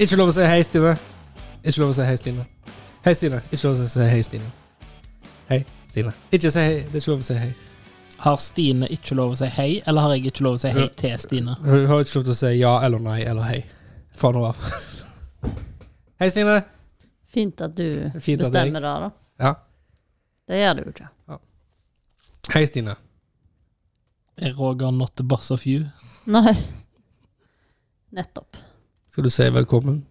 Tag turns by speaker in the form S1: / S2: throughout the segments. S1: Ikke lov å si hei, Stine. Ikke lov å si hei, Stine. Hei, Stine. Ikke lov å si hei, Stine. Hei, Stine. Ikke si hei. Det er ikke lov å si hei.
S2: Har Stine ikke lov å si hei, eller har jeg ikke lov å si hei til Stine?
S1: Hun har ikke lov til å si ja eller nei eller hei fra nå av. Hei, Stine.
S3: Fint at du
S1: Fint at jeg-
S3: bestemmer det, da.
S1: Ja.
S3: Det gjør du jo ikke.
S1: Hei, Stine.
S2: Er Roger not the boss of you?
S3: Nei. Nettopp.
S1: Skal du si velkommen?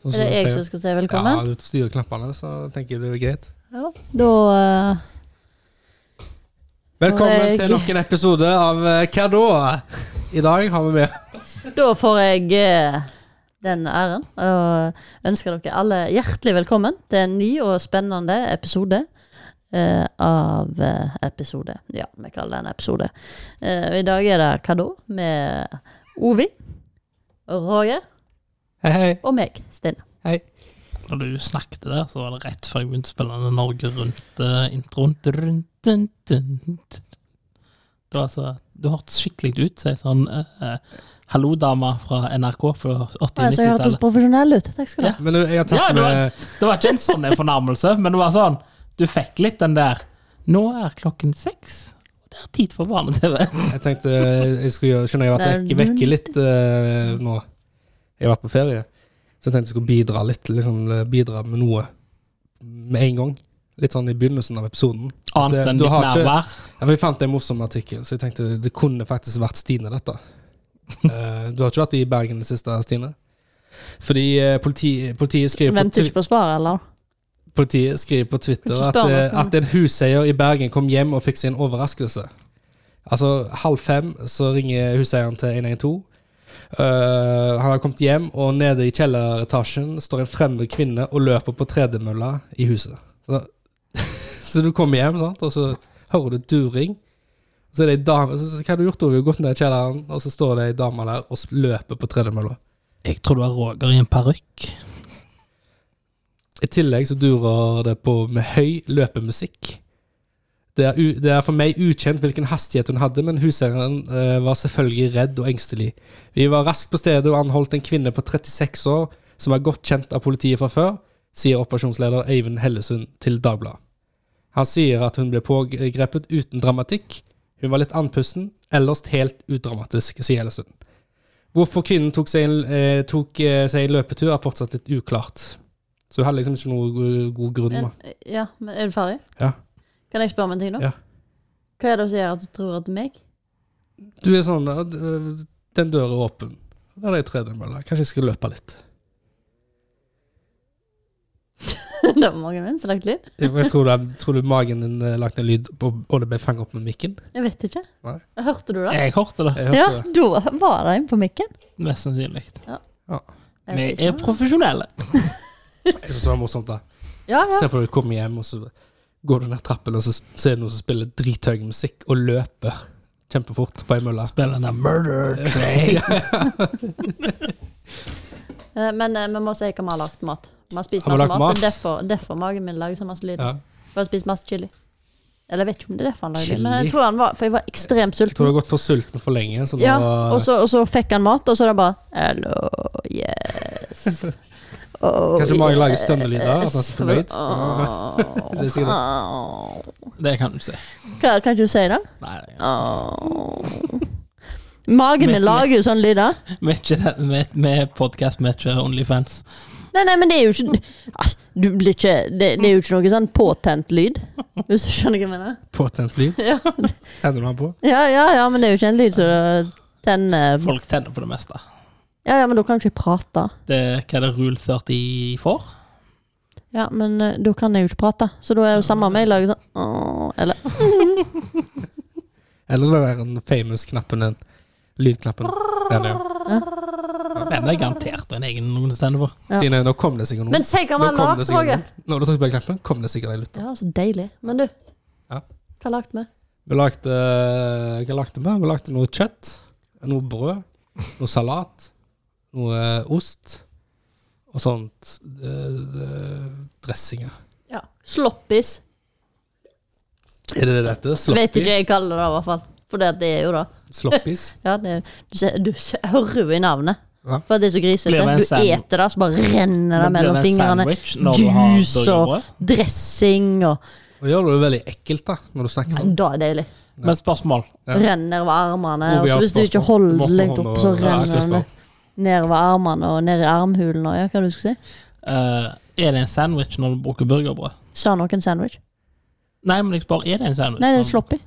S1: Sånn
S3: Er det jeg som skal si velkommen?
S1: Ja, du styrer knappene, så tenker jeg det er greit.
S3: Ja. Da eh,
S1: Velkommen
S3: Og jeg-
S1: til nok en episode av eh, Hva da? I dag har vi med
S3: Da får jeg eh, den æren og ønsker dere alle hjertelig velkommen til en ny og spennende episode eh, av eh, Episode. Ja, vi kaller det en episode. Eh, og I dag er det Hva da? med Ovi, Roger
S1: Hei, hei.
S3: og meg, Stine.
S2: Når du snakket der, så var det rett før jeg begynte å spille den Norge eh, Rundt-introen. Det var altså Du hørtes skikkelig ut som ei sånn eh, hallo-dame fra NRK på 80-90-tallet.
S3: profesjonell ut. Takk
S2: du
S3: skal du
S2: ha.
S3: ha.
S1: Men du, jeg har tatt
S2: Ja, det var-
S1: med
S2: Det var ikke en sånn en fornærmelse, men det var sånn Du fikk litt den der Nå er klokken seks, og det er tid for barne-TV.
S1: Jeg tenkte jeg skulle gjøre, skjønner jeg at jeg
S3: Det er
S1: vekker vekke litt eh, nå. Jeg har vært på ferie, så jeg tenkte jeg skulle bidra litt, liksom eh, bidra med noe med en gang. Litt sånn i begynnelsen av episoden. Det-
S2: Annet enn
S1: du
S2: ditt
S1: har ikke-
S2: nærvær.
S1: Ja, for jeg fant en morsom artikkel, så jeg tenkte det kunne faktisk vært Stine, dette. Eh, du har ikke vært i Bergen det siste, Stine? Fordi eh, politi, politiet skriver på
S3: Venter
S1: Twi-
S3: ikke på svaret, eller?
S1: Politiet skriver på Twitter
S3: Kan ikke
S1: at,
S3: spørre
S1: eh,
S3: noe.
S1: at en huseier i Bergen kom hjem og fikk sin overraskelse. Altså halv fem så ringer huseieren til 112. Eh, han har kommet hjem, og nede i kjelleretasjen står en fremmed kvinne og løper på tredemølla i huset. Så, så du kommer hjem, sant? og så hører du during. Så er det ei dame så, så, Hva har du gjort, Ove? Gått ned i kjelleren, og så står det ei dame der og s- løper på tredemølla.
S2: Jeg tror du er Roger i en parykk.
S1: I tillegg så durer det på med høy løpemusikk. Det er, u, det er for meg ukjent hvilken hastighet hun hadde, men huseieren eh, var selvfølgelig redd og engstelig. Vi var raskt på stedet og anholdt en kvinne på 36 år som er godt kjent av politiet fra før, sier operasjonsleder Øyvind Hellesund til Dagbladet. Han sier at hun ble pågrepet uten dramatikk. Hun var litt andpusten, ellers helt udramatisk, sier Hellesund. Hvorfor kvinnen tok seg en, eh, tok, eh, seg en løpetur, er fortsatt litt uklart. Så hun hadde liksom ikke noe go- god grunn. Da.
S3: En- Ja, men Er du ferdig?
S1: Ja.
S3: Kan jeg spørre om en ting nå?
S1: Ja.
S3: Hva er det som gjør at du tror at det er meg?
S1: Du er sånn eh, d- Den døra er åpen. Der er det ei tredemølle. Kanskje jeg skal løpe litt.
S3: det var mange menn som lagde lyd.
S1: Jeg jeg tror, det, tror du magen din eh, lagde en lyd, og og det ble fanget opp med mikken?
S3: Jeg vet ikke.
S1: Nei.
S3: Hørte du det?
S2: Jeg hørte det,
S1: Jeg hørte
S3: Ja,
S1: det.
S3: da var det inne på mikken.
S2: mest sannsynlig.
S3: Jeg
S2: Vi
S3: vet
S2: er
S3: ikke.
S2: profesjonelle.
S1: Jeg synes det var morsomt, da.
S3: Ja, ja.
S1: Se for deg du kommer hjem, og så går du ned trappen, og så ser du noen som spiller drithøy musikk, og løper kjempefort på ei mølle.
S2: Spiller den der Murder
S1: Ja,
S2: Train.
S1: ja.
S3: Eh, Men eh, vi må si hva vi har lagt mat. Vi har spist
S1: Har vi
S3: masse
S1: lagt
S3: mat,
S1: mat?
S3: og derfor, derfor magen min lager så masse lyd.
S1: Ja.
S3: For jeg har spist masse chili. Eller jeg vet ikke om det er derfor han lager lyd, men
S1: Chili?
S3: jeg tror han var, for jeg var ekstremt
S1: Jeg tror du
S3: sulten.
S1: har gått for sulten for lenge. Så nå,
S3: Ja, og så, og så fikk han mat, og så er det bare Hello, yes. Oh,
S1: Kanskje magen lager stønnelyder, at han er
S3: yes.
S1: så fornøyd.
S3: Åh,
S1: Det er sikkert det.
S3: åh.
S2: Det kan du si.
S3: Hva, kan ikke du si det?
S2: Nei, det er-
S3: Åh. Magen min
S2: Men-
S3: lager jo sånne lyder.
S2: vi er ikke den- vi- vi er podcast, vi er ikke Onlyfans.
S3: Nei, nei, men det er jo ikke altså, du blir ikke, det, det er jo ikke noe sånn påtent lyd, hvis du skjønner hva jeg mener.
S1: Påtent lyd.
S3: Ja,
S1: Tenner du den på?
S3: ja, ja, ja men det er jo ikke en lyd som tenner
S2: Folk tenner på det meste.
S3: Ja, ja, men da kan jeg ikke prate.
S2: Det, hva er det Rule 30 for?
S3: Ja, men eh, da kan jeg jo ikke prate, så da er jo samme om jeg lager sånn åh, Eller
S1: Eller den der den famous knappen din. Lydknappen. Den, ja.
S2: Den er garantert en egen noen som tenner på.
S3: Ja.
S1: Stine, nå kom det sikkert noen.
S3: Men si hva
S1: Nå
S3: man
S1: kom
S3: har
S1: det
S3: lagd,
S1: sikkert
S3: Roger.
S1: noen. Når du trykte på den knappen, kom det sikkert en lytter.
S3: Ja, så deilig. Men du,
S1: Ja.
S3: hva lagde vi?
S1: Vi lagde Hva lagde vi? Vi lagde noe kjøtt, noe brød, noe salat, noe eh, ost og sånt. eh, eh, dressinger.
S3: Ja. Sloppis.
S1: Er det det det heter?
S3: Vet
S1: Sloppy?
S3: ikke jeg kaller det, i hvert fall. For det, det er jo det.
S1: Sloppis?
S3: Ja, det, du, ser- du ser- hører jo i navnet.
S1: Ja.
S3: For det er så grisete.
S2: Blir det en
S3: Du
S2: sand-
S3: eter det, så bare renner
S2: Men blir
S3: det mellom
S2: det en
S3: fingrene.
S2: sandwich når du har
S3: Juice og-
S2: burgerbrød?
S3: Dressing og
S1: Og gjør det jo veldig ekkelt, da, når du snakker
S3: Nei,
S1: sånn.
S3: Da er det deilig.
S2: Men spørsmål.
S1: Ja.
S3: Renner over
S1: Hvor
S3: armene.
S1: vi
S3: Og så
S1: har
S3: altså, hvis du
S1: spørsmål.
S3: ikke holder
S1: Vått
S3: det
S1: med
S3: lengt
S1: hånd
S3: opp,
S1: og-
S3: så
S1: Ja,
S3: renner
S1: skal jeg
S3: det nedover armene og ned i armhulen og ja, hva du skulle si.
S2: Eh, er det en sandwich når du bruker burgerbrød?
S3: Sa noen sandwich?
S2: Nei, men jeg spør, er det en sandwich?
S3: Nei, det er
S2: når-
S3: sloppy.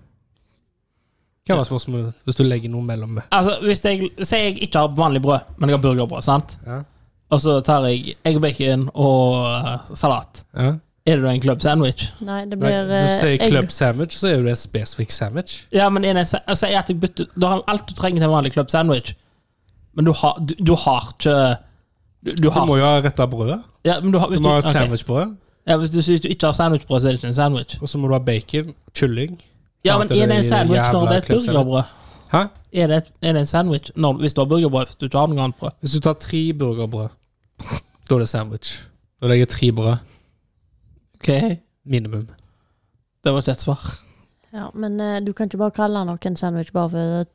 S1: Hva var spørsmålet hvis du legger noe mellom?
S2: Altså, hvis jeg, Si jeg ikke har vanlig brød, men jeg har burgerbrød, sant?
S1: Ja.
S2: Og så tar jeg egg og bacon og eh, salat.
S1: Ja.
S2: Er det da en club sandwich?
S3: Nei, det
S1: Nei,
S3: blir
S1: hvis du
S3: eh,
S1: sier
S3: egg.
S1: club sandwich, så er jo det en spesifikk sandwich.
S2: Ja, men er det en, sa- altså, jeg at jeg bytter, Du har alt du trenger til en vanlig club sandwich, men du har, du, du har ikke Du, du
S1: Du
S2: har
S1: må jo ha retta brødet.
S2: ja, men du har, hvis
S1: Ah. Du må ha
S2: ok.
S1: sandwichbrød,
S2: Ja, hvis, du, hvis du ikke har sandwichbrød, så er det ikke en sandwich.
S1: og så må du ha bacon, kylling
S2: Ja, men
S1: Klart
S2: er det en
S1: i
S2: sandwich når
S1: jævla
S2: det er et
S1: club sandwich.
S2: burgerbrød?
S1: Hæ?
S2: Er det, et, er det en sandwich når, hvis du har burgerbrød, hvis du ikke har noe annet brød?
S1: Hvis du tar tre burgerbrød, da er det sandwich. Da legger jeg tre brød.
S2: Ok, det
S1: Minimum.
S2: var ikke et svar.
S3: Ja, men eh, du kan ikke bare kalle noen sandwich bare for eh,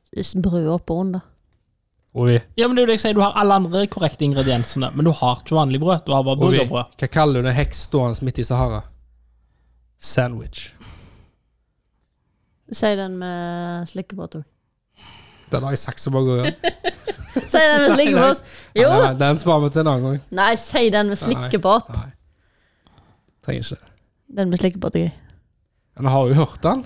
S3: brød opp og under.
S1: Og vi,
S2: Ja, men det er jo det jeg sier, du har alle andre korrekte ingrediensene, men du har ikke vanlig brød. Du har bare
S1: og vi
S2: burgerbrød.
S1: hva kaller du en heks stående midt i Sahara? Sandwich.
S3: Si den med slikkebrød òg.
S1: Den har jeg sagt så mange ganger.
S3: Si den med slikkebrøt! Jo!
S1: Nei, nei, Den sparer vi til en annen gang.
S3: Nei, si den med slikkebrøt.
S1: Nei. Trenger ikke det.
S3: Den med slikkebrøt er gøy.
S1: Men har jo hørt den.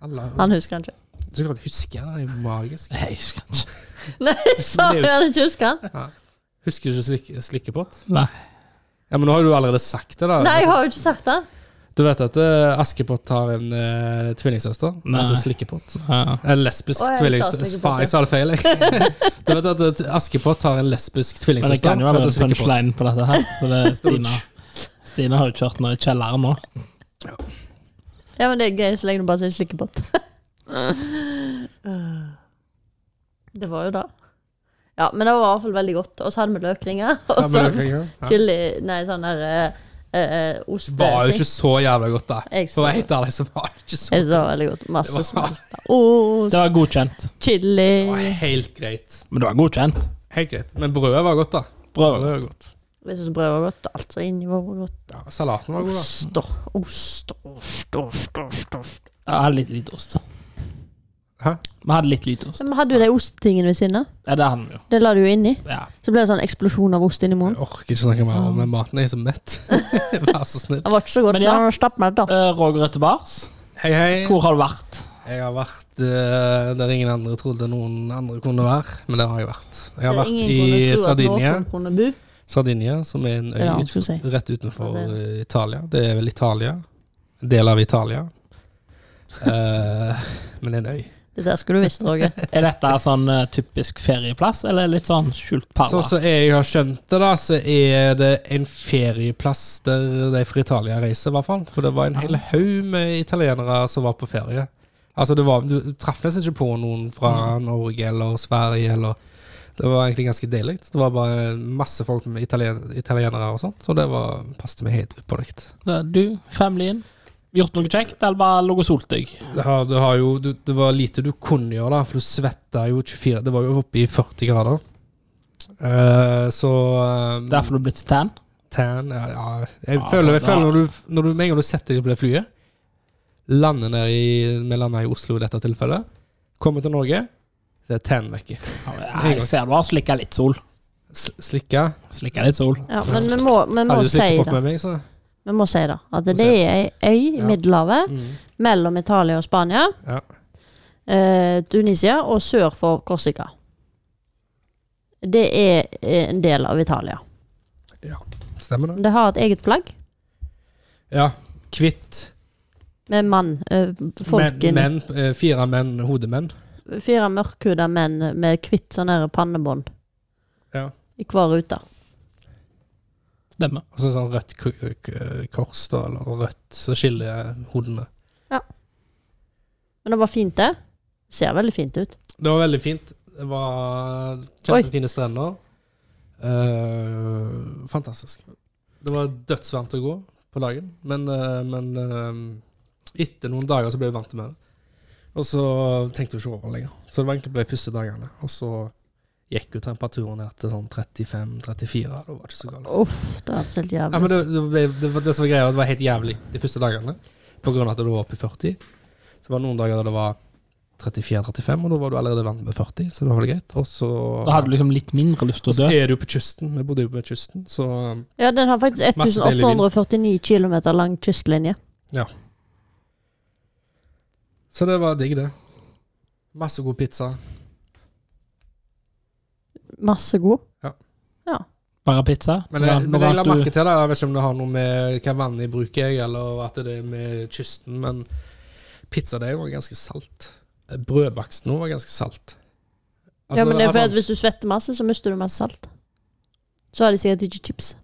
S1: Alle,
S3: Han husker den ikke.
S1: så godt husker jeg den. Den er jo magisk.
S2: Nei, jeg husker ikke.
S3: Nei, sa du han ikke husker den?
S1: Husker du ikke slik, slikkepott?
S2: Nei.
S1: Ja, men nå har du jo allerede sagt det, da.
S3: Nei, jeg har jo ikke sagt det.
S1: Du vet at eh, Askepott har en eh, tvillingsøster? Hun
S2: Nei.
S1: heter Slikkepott.
S2: Ja.
S1: En lesbisk
S3: Å, jeg sa
S1: tvillingsøster.
S3: Slikkepott,
S1: Faen, jeg sa det feil, jeg. du vet at eh, Askepott har en lesbisk
S2: Men det
S1: tvillingsøster?
S2: kan jo være
S1: heter
S2: en
S1: Slikkepott.
S2: punchline på dette her. Så det er Stina. Stina har jo kjørt noe i kjelleren nå.
S3: Ja, men det er gøy så lenge du bare sier slikkebåt. det var jo det. Ja, men det var i hvert fall veldig godt. Og så hadde vi løkringer.
S1: Ja,
S3: Og
S1: men
S3: så
S1: det kan jeg gjøre. Ja.
S3: chili Nei, sånn der eh, eh, oste...
S1: Det var jo ikke så jævla godt, da.
S3: Jeg så
S1: For å være
S3: det.
S1: helt ærlig, så var det ikke så
S3: Jeg så det var veldig godt.
S1: Det
S3: Masse
S1: var,
S3: smelt. Ost,
S2: Det var godkjent.
S1: det var
S3: chili
S1: helt greit.
S2: Men det var godkjent.
S1: Helt greit. Men brødet var godt, da.
S2: Brød var
S1: Brødet
S2: godt.
S1: var godt.
S3: Jeg syns brød var godt. Alt som inni var godt.
S1: Ja, salaten var god, da.
S3: Ost og ost og ost, ost, ost, ost.
S2: Jeg hadde litt lite ost.
S1: Hæ?
S2: Vi hadde litt lite ost.
S3: Men vi hadde jo de ostetingene ved siden av.
S2: Ja, det hadde vi jo.
S3: Det la du jo inni.
S2: Ja.
S3: Så ble det sånn eksplosjon av ost inni munnen.
S1: Jeg orker ikke snakke mer om den maten. Jeg er så mett. Vær så snill.
S3: Det var ikke så godt,
S2: Men
S3: men
S2: ja.
S3: han har stappet meg da.
S2: Eh, Roger etter bars.
S1: Hei, hei.
S2: Hvor har du vært?
S1: Jeg har vært eh, der ingen andre trodde noen andre kunne være, men der har jeg vært. Jeg har vært
S3: Ingen
S1: i
S3: kunne tro at
S1: Sardinia,
S3: noen kunne bo.
S1: Sardinia som er en øy
S3: Ja,
S1: ut,
S3: skulle si.
S1: rett utenfor
S3: Hva sier du?
S1: eh, Italia. Det er vel Italia. En del av Italia. Eh, men en øy.
S3: Det der skulle du visst, Roger.
S2: Er dette sånn eh, typisk ferieplass, eller litt sånn skjult
S1: Sånn
S2: perle?
S1: som jeg har skjønt det, da, så er det en ferieplass der de fra Italia reiser, i hvert fall. For det var en hel haug med italienere som var på ferie. Altså, det var, Du traff nesten ikke på noen fra Norge eller Sverige eller Det var egentlig ganske deilig. Det var bare masse folk med italien, italienere og sånt, så det var, passet meg helt ypperlig.
S2: Du, familien, gjort noe kjekt, eller bare ligget og solt deg?
S1: Det, har, det, har jo, du, det var lite du kunne gjøre, da, for du svetta jo 24 Det var jo oppe i 40 grader. Eh, så eh,
S2: Derfor du er blitt tan?
S1: tan ja, ja. Jeg
S2: Ja,
S1: føler, jeg
S2: for-
S1: føler når, du, når du Med en gang du setter deg på det flyet Lander ned i Vi lander i Oslo i dette tilfellet. Kommer til Norge, så er tan vekke.
S2: Ja, jeg ser du har slikka litt sol.
S1: S- Slikka.
S2: Slikka litt sol.
S3: Ja, men vi må, vi må
S1: Hadde du
S3: si
S1: slikket opp
S3: det.
S1: med meg, så
S3: Vi må si det. At
S1: Få
S3: det er ei øy i
S1: Ja.
S3: Middelhavet
S1: mm.
S3: mellom Italia og Spania,
S1: Ja.
S3: eh, Tunisia og sør for Korsika. Det er eh, en del av Italia.
S1: Stemmer det?
S3: Det har et eget flagg
S1: Ja. Kvitt.
S3: med mann. Eh, folk
S1: Menn,
S3: inni.
S1: menn, eh, fire menn, hodemenn.
S3: Fire mørkhuda menn med hvitt sånn her pannebånd
S1: Ja.
S3: i hver rute.
S2: Stemmer.
S1: Og så sånn rødt k k kors, da, eller rødt, så skiller hodene.
S3: Men det var fint, det. Ser veldig fint ut.
S1: Det var veldig fint. Det var kjempefine strender. Eh, fantastisk. Det var dødsvarmt å gå på dagen, men, eh, men eh, etter noen dager så ble vi vant til det. Og så tenkte vi ikke over det lenger. Så det var egentlig ble de første dagene. Og så gikk jo temperaturen ned til sånn 35-34. Det var ikke så galt.
S3: Uff, det høres helt
S1: Ja, men
S3: jævlig ut.
S1: det, det, ble, det, var- det som var greia, det var helt jævlig de første dagene. På grunn av at det var oppe i 40. Så var det noen dager da det var 34-35, og da var du allerede vant med 40, så da var det greit. Og så
S2: Da hadde du liksom litt mindre lyst til å dø.
S1: er du på kysten. Vi bodde jo på kysten, så
S3: Ja, den har faktisk
S1: Masse deilig vind.
S3: 1849 km lang kystlinje.
S1: Så det var digg, det. Masse god pizza.
S3: Masse god.
S2: Bare pizza.
S1: Men jeg,
S2: Nå
S1: men
S2: var
S1: jeg la
S2: at du-
S1: merke til det. Jeg vet ikke om det har noe med hva vann jeg bruker, jeg, eller at det er med kysten, men pizzadeig var ganske salt. Brødbaksten også var ganske salt.
S3: ja, men det er
S1: var
S3: fordi
S1: sånn-
S3: at Hvis du svetter masse, så mister du masse salt. Så har de sikkert ikke chips.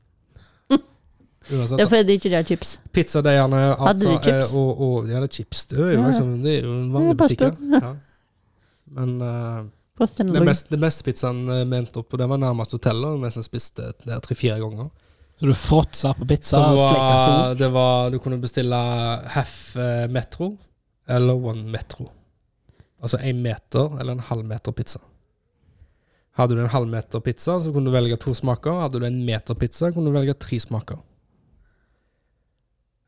S1: uansett,
S3: Det er fordi de ikke de har chips.
S1: Pizzadeigene altså,
S3: Hadde de chips?
S1: eh, Og, og, ja, det er chips. Det er jo,
S3: Ja.
S1: liksom, det er jo en vanlig
S3: Ja, Eh, pass
S1: butikk.
S3: på.
S1: ja. Ja. Men eh,
S3: Prøv den
S1: den
S3: luggen.
S1: beste, den beste pizzaen eh, vi endte opp på, den var nærmest hotellet. og Vi som spiste der tre-fire ganger.
S2: Så du fråtsa på pizza
S1: Som
S2: og slikka sol.
S1: var, uh, det var Du kunne bestille half eh, metro eller one metro. Altså en meter eller en halv meter pizza. Hadde du en halv meter pizza, så kunne du velge to smaker. Hadde du en meter pizza, kunne du velge tre smaker.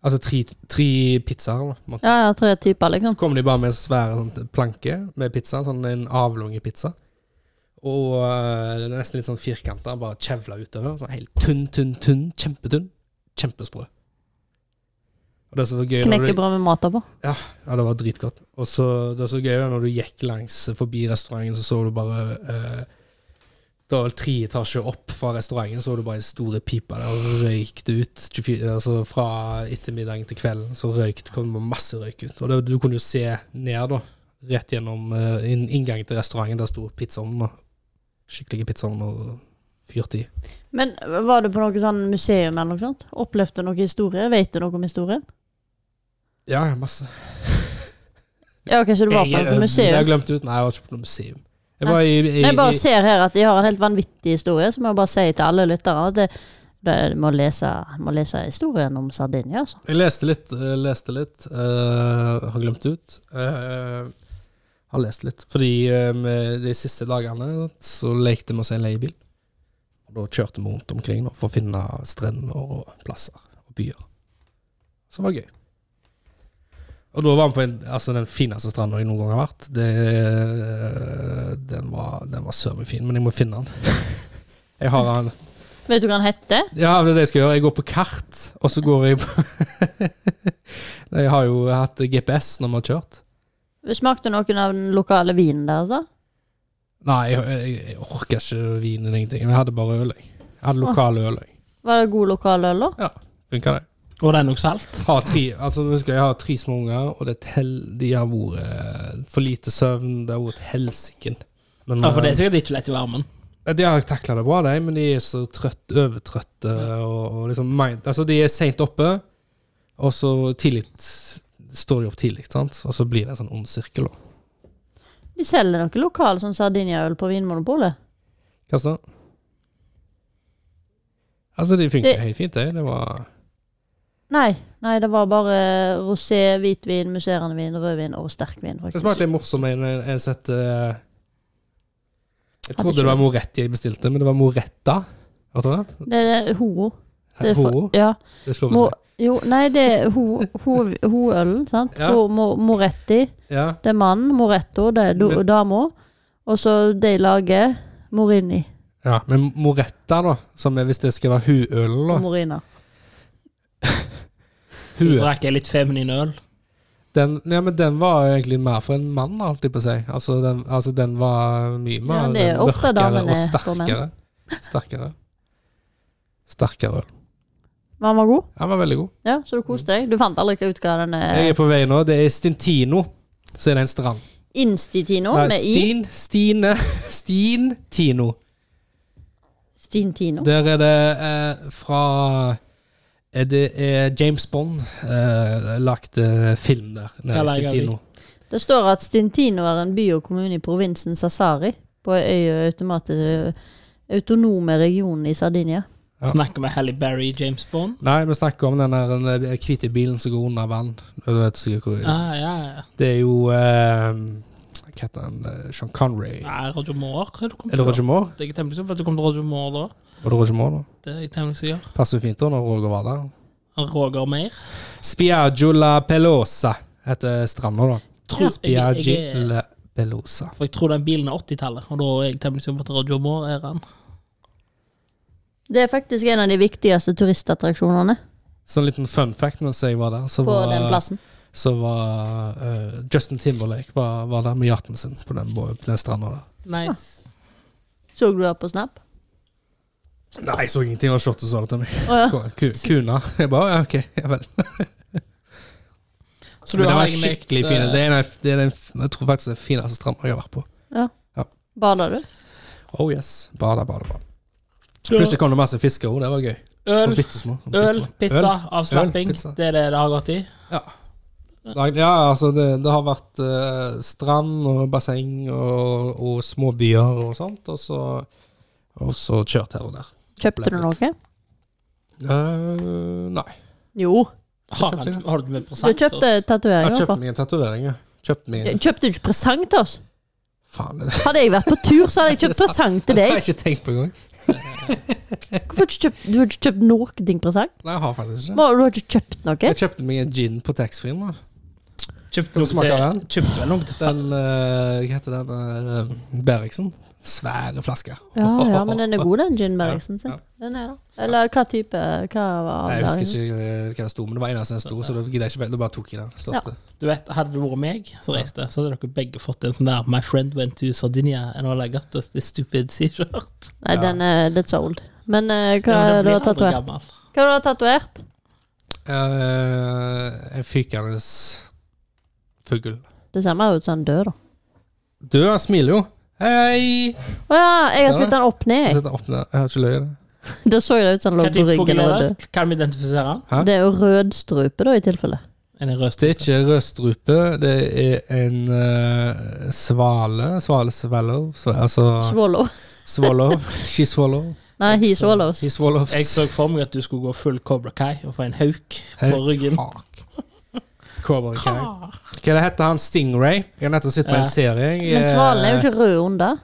S1: Altså tre, tre pizzaer, da. på en måte.
S3: Ja, ja, tre typer, liksom.
S1: Så kom de bare med svære sånn, planke med pizza, sånn en avlange pizza. Og øh, den er nesten litt sånn firkanta, bare kjevla utover. Sånn helt tynn, tynn, tynn. Kjempetynn. Kjempesprø. Og det som var gøy når du,
S3: Knekkebrød med mat oppå.
S1: Ja, det var dritgodt. Og så det som var gøy når du gikk langs forbi restauranten, så så du bare øh, Det var vel tre etasjer opp fra restauranten, så du bare ei store pipe der og røykte ut. 24, altså fra ettermiddagen til kvelden så røykt, kom det masse røyk ut. Og det, du kunne jo se ned, da. Rett gjennom eh, inn- inngangen til restauranten. Der sto pizzaovnen. da. Skikkelige pizzaovner og fyrte i.
S3: Men var du på noe sånn museum eller noe sånt? Opplevde du noe historie? Vet du noe om historien?
S1: Ja, ja, masse.
S3: Ja, ok, så du var på
S2: Jeg,
S3: noe
S2: eh,
S1: Jeg har
S3: museum?
S1: glemt ut. Nei, jeg var ikke på noe museum. Jeg var i, i,
S3: Nei, Jeg bare
S1: i,
S3: ser her at de har en helt vanvittig historie, så må jeg bare si til alle lyttere at det- det- de må lese, må lese historien om Sardinia, altså.
S1: Jeg leste litt, eh, leste litt. eh, har glemt ut. Eh, har lest litt. Fordi eh, med de siste dagene så lekte vi oss en leiebil. Og da kjørte vi rundt omkring da, for å finne strender og plasser og byer. Som var gøy. Og da var vi på en, altså den fineste stranda jeg noen gang har vært. Det, eh, den var, den var søren meg fin, men jeg må finne den. Jeg har den
S3: Vet du hva han heter?
S1: ja, det er det jeg skal gjøre. Jeg går på kart, og så går jeg på Nei, Jeg har jo hatt GPS når vi har kjørt.
S3: Smakte noen av den lokale vinen der, altså?
S1: Nei, jeg, jeg, jeg orker ikke vin eller ingenting. Jeg hadde bare øl, jeg. Jeg hadde lokal øl, jeg.
S3: Var det god lokal øl, da?
S1: Funka det?
S2: Og det er nok salt.
S1: Har tre, altså, nå husker jeg, jeg har tre små unger, og det er et hel, de har vært eh, for lite søvn. Det har vært helsike. Men,
S2: Ja, for det er
S1: eh,
S2: sikkert ikke lett i varmen.
S1: De har takla det bra, de, men de er så trøtt, overtrøtte og, og liksom mind, Altså, de er seint oppe, og så tidlig står de opp tidlig, sant? og så blir det en sånn ond sirkel. da.
S3: De selger noe lokal sånn Sardinia-øl på Vinmonopolet.
S1: Hva så? Altså, de funker
S3: Det-
S1: helt fint, de. Det var
S3: Nei, nei, det var bare rosé, hvitvin, musserende vin, rødvin og sterkvin,
S1: Det
S3: faktisk.
S1: smakte litt morsomt en jeg sett eh, Jeg
S3: Hadde
S1: trodde
S3: ikke
S1: det var Moretti jeg bestilte, men det var Moretta. Hørte du det?
S3: Det er horo. Det er for-
S1: Horo.
S3: Ja.
S1: Det slår
S3: Mo,
S1: meg.
S3: jo, nei, det er ho- ho- hoølen, sant?
S1: Ja.
S3: Ho, mo, Moretti,
S1: Ja.
S3: det er mannen. Moretto, det er do-
S1: Men-
S3: dama. Og så de lager Morini
S1: ja. Men Moretta, da, som er, hvis det skal være huølen,
S3: og
S1: da
S3: Morina.
S2: Du
S1: Hue.
S2: drakk jeg litt feminin øl.
S1: Den, ja, men den var jo egentlig mer for en mann, holdt jeg på å si. Altså, den, altså, den var mye mer
S3: Ja, det er ofte
S1: mørkere
S3: damene
S1: og
S3: for menn.
S1: sterkere. Sterkere. Sterkere øl.
S3: Men han var god,
S1: Den var veldig god.
S3: ja, så du koste deg. Du fant aldri ikke ut hva den eh,
S1: Jeg
S3: er.
S1: er på vei nå. Det er Stintino. Så er det en strand.
S3: Institino
S1: Nei,
S3: med i.
S1: Stin, Stine, Stintino.
S3: Stintino.
S1: Der er det eh, fra eh, Det er James Bond eh, lagt eh, film der. Nede i
S2: Kalle Eigervik.
S1: Stintino.
S3: Det står at Stintino er en by og kommune i provinsen Sassari, på øya automati- autonome regionen i Sardinia.
S1: Ja.
S2: Snakker med Halle Berry, James Bond.
S1: Nei, vi snakker om den der eh, hvite bilen som går under vann. Du vet sikkert hvor
S2: Ja, ja, ja.
S1: Det er jo eh, hva heter han, eh, Sean Connery.
S2: Nei, Roger Moore. er Du kom
S1: Er det Roger Moore?
S2: Jeg er temmelig sikker på at du kom til Roger Moore da.
S1: Var det Roger Moore, da?
S2: Det er jeg temmelig sikker.
S1: Passer jo fint da når Roger var der.
S2: Han Roger Meir.
S1: Spiaggio la Pelosa heter stranda, da.
S2: Tror jeg,
S1: Spiaggi
S2: jeg, er-
S1: la Pelosa.
S2: for jeg tror den bilen er 80-tallet, og da er jeg temmelig sikker på at Roger Moore er han.
S3: Det er faktisk en av de viktigste turistattraksjonene
S1: Så en liten fun fact mens jeg var der, så
S3: på den
S1: var,
S3: plassen.
S1: så var eh, Justin Timberlake var, var der med yachten sin på den, bå- på den stranda der.
S2: Nice.
S3: Så du det på Snap?
S1: Nei, jeg så ingenting av shotet sa det til meg.
S3: Å ja.
S1: Ku- Kuna. Jeg bare, ja, ok, ja vel.
S2: Så
S1: Men det
S2: har
S1: var
S2: egentlig,
S1: skikkelig
S2: eh,
S1: fin. Det er en, av- det er den, f- jeg tror faktisk det er den fineste stranda jeg har vært på.
S3: Bada du?
S1: Oh yes. Bada, bada, bada. Plutselig kom det masse fisker òg, det var gøy. Sånn
S2: Øl,
S1: Bittesmå.
S2: øl, pizza, avslapping.
S1: Øl, pizza.
S2: Det er det det har gått i.
S1: Ja, altså, det, det har vært eh, strand og basseng og, og små byer og sånt, og så, og så kjørt her og der.
S3: Kjøpte du
S1: Opplevelse.
S3: noe?
S1: Eh, nei.
S3: Jo.
S2: Har
S1: kjøpte
S2: han- har du med
S3: Du
S2: presang?
S3: kjøpte
S1: Jeg
S3: tatoveringer.
S1: kjøpte
S3: på.
S1: meg en tatovering, ja. Kjøpte meg
S3: Ja,
S1: en
S3: Kjøpte du ikke presang til oss?
S1: Faen, det
S3: Hadde jeg vært på tur, så hadde jeg kjøpt presang til
S1: har
S3: deg.
S1: jeg ikke tenkt på engang.
S3: Hvorfor har du ikke kjøpt, du har ikke kjøpt noe ting presang?
S1: Nei, jeg har faktisk
S3: Du
S1: ikke.
S3: har ikke kjøpt noe?
S1: Jeg kjøpte meg en gin på taxfree-en. da.
S2: Kjøpte noe
S1: smaker
S2: til-
S1: den?
S2: Kjøpte vel noe til
S1: Den eh, Hva heter den? eh, Beriksen. Svære flasker.
S3: Ja, ja, men den er god, den gin Bergsen sin.
S1: Ja,
S3: Den er det. Eller hva type? Hva var
S1: Nei, jeg
S3: den?
S1: husker ikke eh, hva det sto, men det var eneste den sto, så da gidder jeg ikke Da bare tok jeg den største.
S2: Du vet, Hadde det vært meg som reiste, så hadde dere begge fått en sånn der My friend went to Sardinia and all I got was this stupid t-shirt.
S3: Nei,
S1: Ja.
S3: den er that's old. Men eh, hva
S2: Men den
S3: du
S2: blir
S3: har
S2: aldri
S3: tatovert?
S2: gammel.
S3: Hva du har tatovert?
S1: Eh, en fykende fugl.
S3: Det ser mer ut som han dør, da.
S1: Du, han smiler jo. Hei!
S3: Å ja, jeg
S1: Ser
S3: har
S1: du?
S3: sett han opp
S1: Jeg
S3: ned.
S1: sitter opp ned. Jeg har ikke løyet det.
S3: jeg. Da så jeg det ut som han
S2: Hva
S3: lå på
S2: type
S3: ryggen
S2: fugl
S3: og var
S2: er
S3: død.
S2: det? Kan vi identifisere den?
S1: Hæ?
S3: Det er jo rødstrupe, da, i tilfelle.
S2: En rød
S1: Det er
S2: strupe.
S1: ikke rødstrupe, det er en eh, svale. Svale swallow. Så, altså
S3: Swallow.
S1: swallow. She swallow.
S3: Nei, he
S1: Så-
S3: swallows.
S1: He swallows.
S2: Jeg så for meg at du skulle gå full Cobra Kai og få en hauk på
S1: Hauk.
S2: ryggen.
S1: Fuck. Cobra Kai. Hva det heter han? Stingray? Jeg har nettopp sett på
S2: Ja.
S1: en serie. jeg,
S3: Men svalen er jo
S1: eh,
S3: ikke rød under.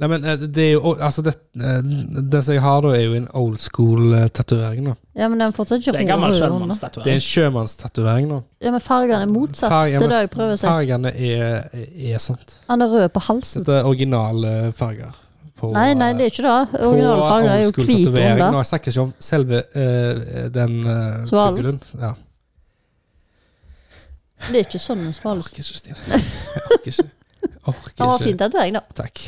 S1: Nei, men eh, det er jo Altså, det, eh, den som jeg har, da, er jo en old school-tatovering, da.
S3: Ja, men den er fortsatt ikke
S2: Det er en gammel altså.
S3: rød under.
S1: Det er
S2: sjømannstatovering.
S1: en sjømannstatovering, da.
S3: Ja, men fargene er motsatt.
S1: Fargen-
S3: Det er det jeg prøver å si.
S1: Fargene er, er sant.
S3: Han er rød på halsen.
S1: Dette er originale eh, farger. På, eh,
S3: Nei, nei, det er ikke det. Originale
S1: på
S3: farger er jo
S1: old school
S3: hvit
S1: tatovering.
S3: under.
S1: Nå snakker jeg ikke om selve eh, den uh,
S3: Svalen.
S1: fuglen. Ja.
S3: Det er ikke sånn en smal
S1: Orker ikke, Stine. Jeg Orker ikke.
S3: Han
S1: Orker
S3: var
S1: ikke.
S3: fin tatovering, da.
S1: Takk.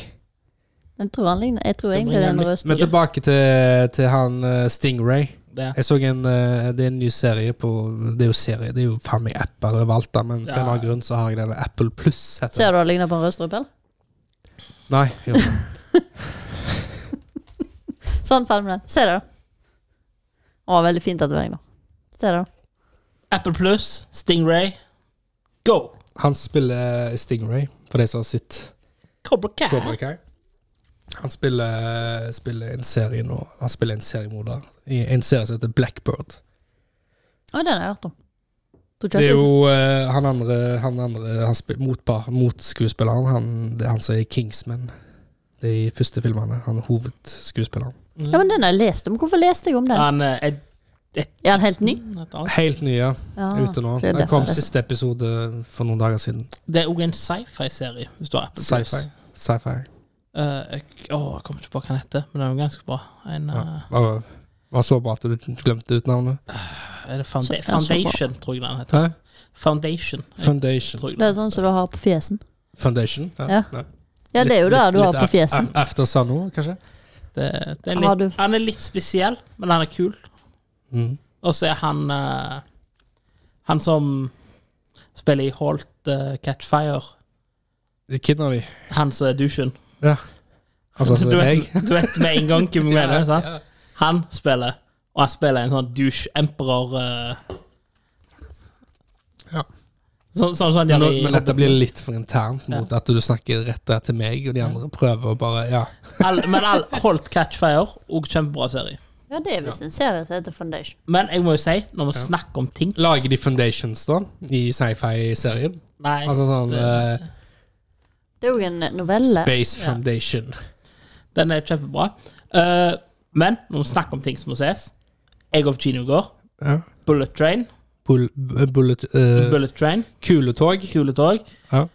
S3: Jeg tror, han ligner, jeg tror
S2: Skal
S3: egentlig det er en
S2: bringe
S3: rød
S2: litt-
S1: Men
S3: strøm.
S1: tilbake til, til han eh, Stingray.
S2: Det er-
S1: Jeg så en, eh, det er en ny serie på Det er jo serie, det er jo faen meg apper overalt, da, men for
S2: Ja.
S1: en eller annen grunn så har jeg denne Apple Plus heter
S3: Ser
S1: den.
S3: du han ligner på en rødstrupe? eller?
S1: Nei, jo.
S3: Sånn, ferdig med den. Ser du det? Å, veldig fin tatovering, da. Ser du det?
S2: Apple Plus, Stingray, go!
S1: Han spiller Stingray, for de som har sett
S2: Cobra Kai.
S1: Cobra Kai. Han spiller, spiller en serie nå. Han spiller en seriemorder i en serie som heter Blackbird.
S3: Å, den har jeg hørt om. Tror ikke
S1: Det
S3: jeg
S1: er
S3: har sett
S1: jo eh, han andre, han andre han spil, motpar, motskuespilleren. Han, det er han som er i Kingsman. De første filmene. Han er hovedskuespilleren.
S3: den. Ja, men den har jeg lest om. Hvorfor leste jeg om den?
S2: Han eh, er
S3: Er den helt ny?
S2: et annet.
S1: Helt nye
S3: Ja.
S1: ute nå.
S3: Ah, det er
S1: Den kom
S3: derfor.
S1: siste episode for noen dager siden.
S2: Det er òg en sci-fi-serie, hvis du har Apple Plus.
S1: Sci-fi. Sci-fi.
S2: Eh, jeg, å, jeg kommer ikke på hva den heter, men den er jo ganske bra. En,
S1: Ja.
S2: eh,
S1: Det var- det var så bra at du glemte ut navnet.
S2: Er det Founda
S3: Så- ja, så bra.
S2: Foundation, tror jeg den heter.
S1: Hæ?
S2: Foundation. Jeg
S1: Foundation.
S2: tror jeg
S3: Det
S2: den
S3: er sånn som du har på fjesen.
S1: Foundation?
S3: Ja. Ja, det er jo det du har på fjesen.
S1: After Sanno, kanskje?
S2: Det, det er
S3: Har
S2: litt,
S3: du-
S2: Han er litt spesiell, men han er kul.
S1: Mm.
S2: Og så er han eh, Han som spiller i Holt eh, Catch Fire.
S1: Kidner de.
S2: Han som er douchen.
S1: Altså,
S2: du,
S1: altså jeg.
S2: vet, du vet med en gang hvem jeg mener. Sant?
S1: ja.
S2: Han spiller, og han spiller en sånn douche emperor eh,
S1: Ja.
S2: Sånn sånn som han
S1: Men,
S2: gjør
S1: nå,
S2: i
S1: men dette
S2: Hobbiten.
S1: blir litt for internt mot at du snakker rett der til meg, og de andre prøver å bare Ja.
S2: Alle- Men all, Holt Catch Fire, og kjempebra serie.
S3: Ja, det er visst en serie som heter Foundation.
S2: Men jeg må jo si, når vi snakker om ting
S1: Lager de foundations, da, i sci-fi-serien?
S2: Nei,
S1: Altså sånn
S2: det-
S1: eh,
S3: Det er jo en eh, novelle.
S1: Space
S2: Ja.
S1: Foundation.
S2: Den er kjempebra. Eh, men når vi snakker om ting som må ses Jeg går på kino i går.
S1: Ja.
S2: Bullet Train.
S1: Bull, bu- bullet, eh,
S2: Bullet Train.
S1: kuletog.
S2: Kuletog.
S1: Ja.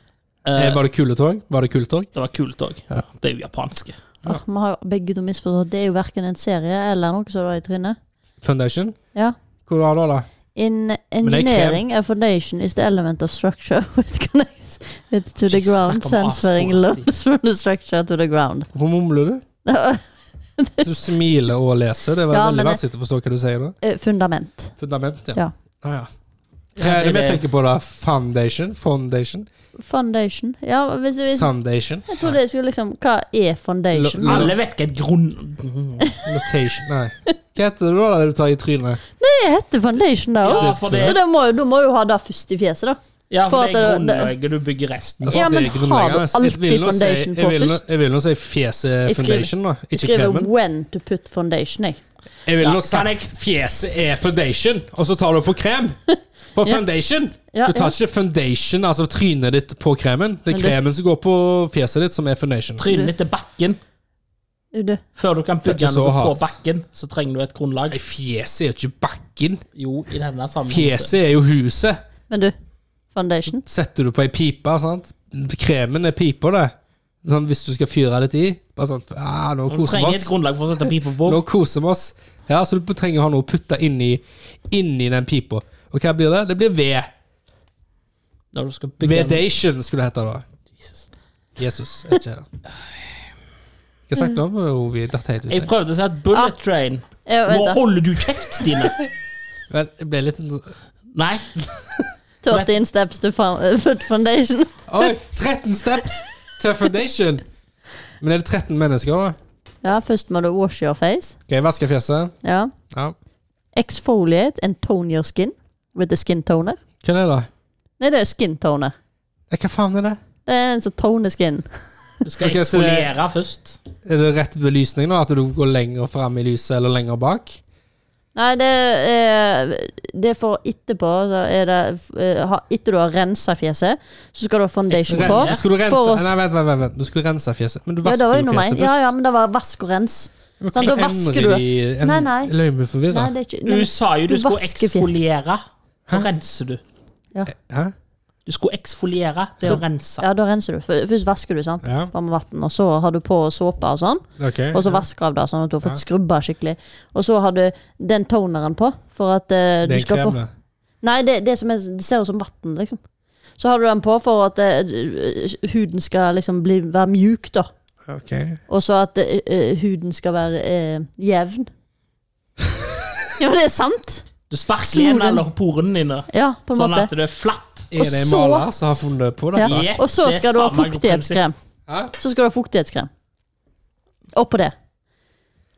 S2: Eh,
S1: Eh, var det kuletog? Var det kuletog?
S2: det var kuletog.
S1: Ja.
S2: Det er jo japanske.
S3: Åh, vi har begge to misforstått. Det er jo verken en serie eller noe som er i trynet.
S1: Foundation?
S3: Ja.
S1: Hvor har du det? da?
S3: In
S1: det er
S3: engineering, a foundation is the element of structure which connects it to the
S2: Ikke
S3: ground,
S2: snakk om
S3: transferring
S2: avsporingstid.
S3: loads from the structure to the ground.
S1: Hvorfor mumler du? Du smiler og leser. Det var
S3: Ja,
S1: veldig
S3: men-
S1: vanskelig å forstå hva du sier da.
S3: Eh, Fundament.
S1: Fundament, ja.
S3: Ja.
S1: Ah, ja. Hva er det vi tenker på da? Foundation? Foundation?
S3: Foundation. Ja, hvis, hvis,
S1: Sundation?
S3: jeg tror det skulle liksom Hva er foundation?
S1: Lo- lo-
S2: Alle vet hva et grunn...
S1: Notation? Nei. Hva heter det da det du tar i trynet?
S3: Det heter foundation, da òg.
S2: Ja, for det,
S3: Så da må, jo- da må jo ha det først i fjeset, da.
S2: ja,
S3: for
S2: for
S3: at
S2: det er
S3: det-
S2: grunnlaget du bygger resten på.
S3: Ja, men
S1: Det er grunnleggende.
S3: har
S1: Jeg
S3: du
S1: vil
S3: alltid
S1: nå si-
S3: foundation på
S1: jeg vil nå-
S3: først?
S1: Jeg vil nå si fjeset
S3: Jeg skriver-
S1: foundation, da.
S3: Jeg
S1: Ikke
S3: skriver
S1: kremen.
S3: 'when to put foundation', jeg.
S1: Jeg ville
S2: Ja,
S1: nå
S2: kan
S1: sagt fjeset er foundation, og så tar du på krem. På
S3: Ja.
S1: foundation.
S3: Ja,
S1: Du tar
S3: ja.
S1: ikke foundation, altså trynet ditt, på kremen. Det
S3: Men
S1: er
S3: det-
S1: kremen som går på fjeset ditt, som er foundation.
S2: Trynet ditt til bakken.
S3: Er du-
S2: Før du kan
S1: Det er
S2: bygge
S1: ikke så
S2: noe på
S1: hardt.
S2: bakken, så trenger du et grunnlag.
S1: Nei, fjeset er jo ikke bakken.
S2: Jo, i denne sammenhengen.
S1: Fjeset er jo huset.
S3: Men du, foundation?
S1: Setter du på ei pipe, sant. Kremen er pipa, det. Sånn, hvis du skal fyre litt i. Bare sånn ah, Nå
S2: Du
S1: koser vi
S2: trenger et
S1: oss.
S2: grunnlag for å sette pipa på.
S1: Nå koser vi oss. Ja, så du trenger å ha noe å putte inni, inni den pipa. Og hva blir det? Det blir ved.
S2: Når du skal bygge en-
S1: Vedation skulle det hete da.
S2: Jesus.
S1: Jesus er ikke her. Hva har jeg sagt
S3: Mm.
S1: nå? Ovi? Dette er helt
S2: Jeg
S1: ute.
S2: prøvde å si at Bullet Train
S3: Ja, Ah. vent
S2: Nå
S3: da.
S2: holder du kjeft, Stine!
S1: Vel, jeg ble litt
S2: Nei,
S3: 13 steps to fo- put foundation.
S1: Oi! 13 steps til foundation! Men er det 13 mennesker, da?
S3: Ja, først må du wash your face.
S1: Skal jeg vaske fjeset?
S3: Ja.
S1: Ja.
S3: Exfoliate and tone your skin with the skin toner.
S1: Hva er det, da?
S3: Nei, det er skin toner.
S1: Ja, Eh, hva faen er det?
S3: Det er altså en som toner skin.
S2: du skal
S1: Ok, så det-
S2: eksfoliere først.
S1: Er det rett belysning, da? At du går lenger fram i lyset, eller lenger bak?
S3: Nei, det er, det er for etterpå. Da er det, eh, ha- etter du har rensa fjeset, så skal du ha foundation på.
S1: Ren, skal du rense
S3: For oss-
S1: Nei, vent, vent, vent, vent. Du skulle rense fjeset. Men du
S3: Ja, det var
S1: vasker
S3: jo
S1: jo
S3: nummer én.
S1: fjeset
S3: Ja,
S1: først.
S3: ja, men det var vask og rens.
S1: Men
S3: sant, da
S1: hvorfor
S3: vasker
S1: endrer
S3: du.
S1: de- en-
S3: Nei, nei.
S1: Løy meg forvirra.
S3: Nei, det er ikke
S2: Du
S3: nei,
S2: sa jo du
S3: du
S2: skulle
S3: vasker fjes.
S2: eksfoliere. Nå renser du.
S1: Hæ?
S2: Du skulle eksfoliere. Det er å rense.
S3: Ja, da renser du. Før- Først vasker du, sant.
S1: Ja,
S3: Bare med vann, og så har du på såpe og sånn.
S1: ok.
S3: Og så vasker av det, sånn at du har fått skrubba skikkelig. Og så har du den toneren på, for at eh,
S1: Det
S3: du
S1: er en
S3: skal få
S1: krem, det.
S3: Nei, det, det, som er, det ser ut som vann, liksom. Så har du den på for at eh, huden skal liksom bli, være mjuk, da.
S1: Ok.
S3: Og så at eh, eh, huden skal være eh, jevn. ja, men det er sant!
S2: Du sparker igjen
S3: Snoren.
S2: alle porene dine,
S3: Ja, på en
S2: sånn
S3: måte.
S2: at det er flatt.
S1: Er det en
S3: så-
S1: maler som har funnet på dette?
S3: Ja.
S2: Ja,
S3: Og så
S2: det er
S3: skal du ha
S2: samme
S3: fuktighetskrem.
S1: Hæ?
S3: Så skal du ha fuktighetskrem. Oppå det.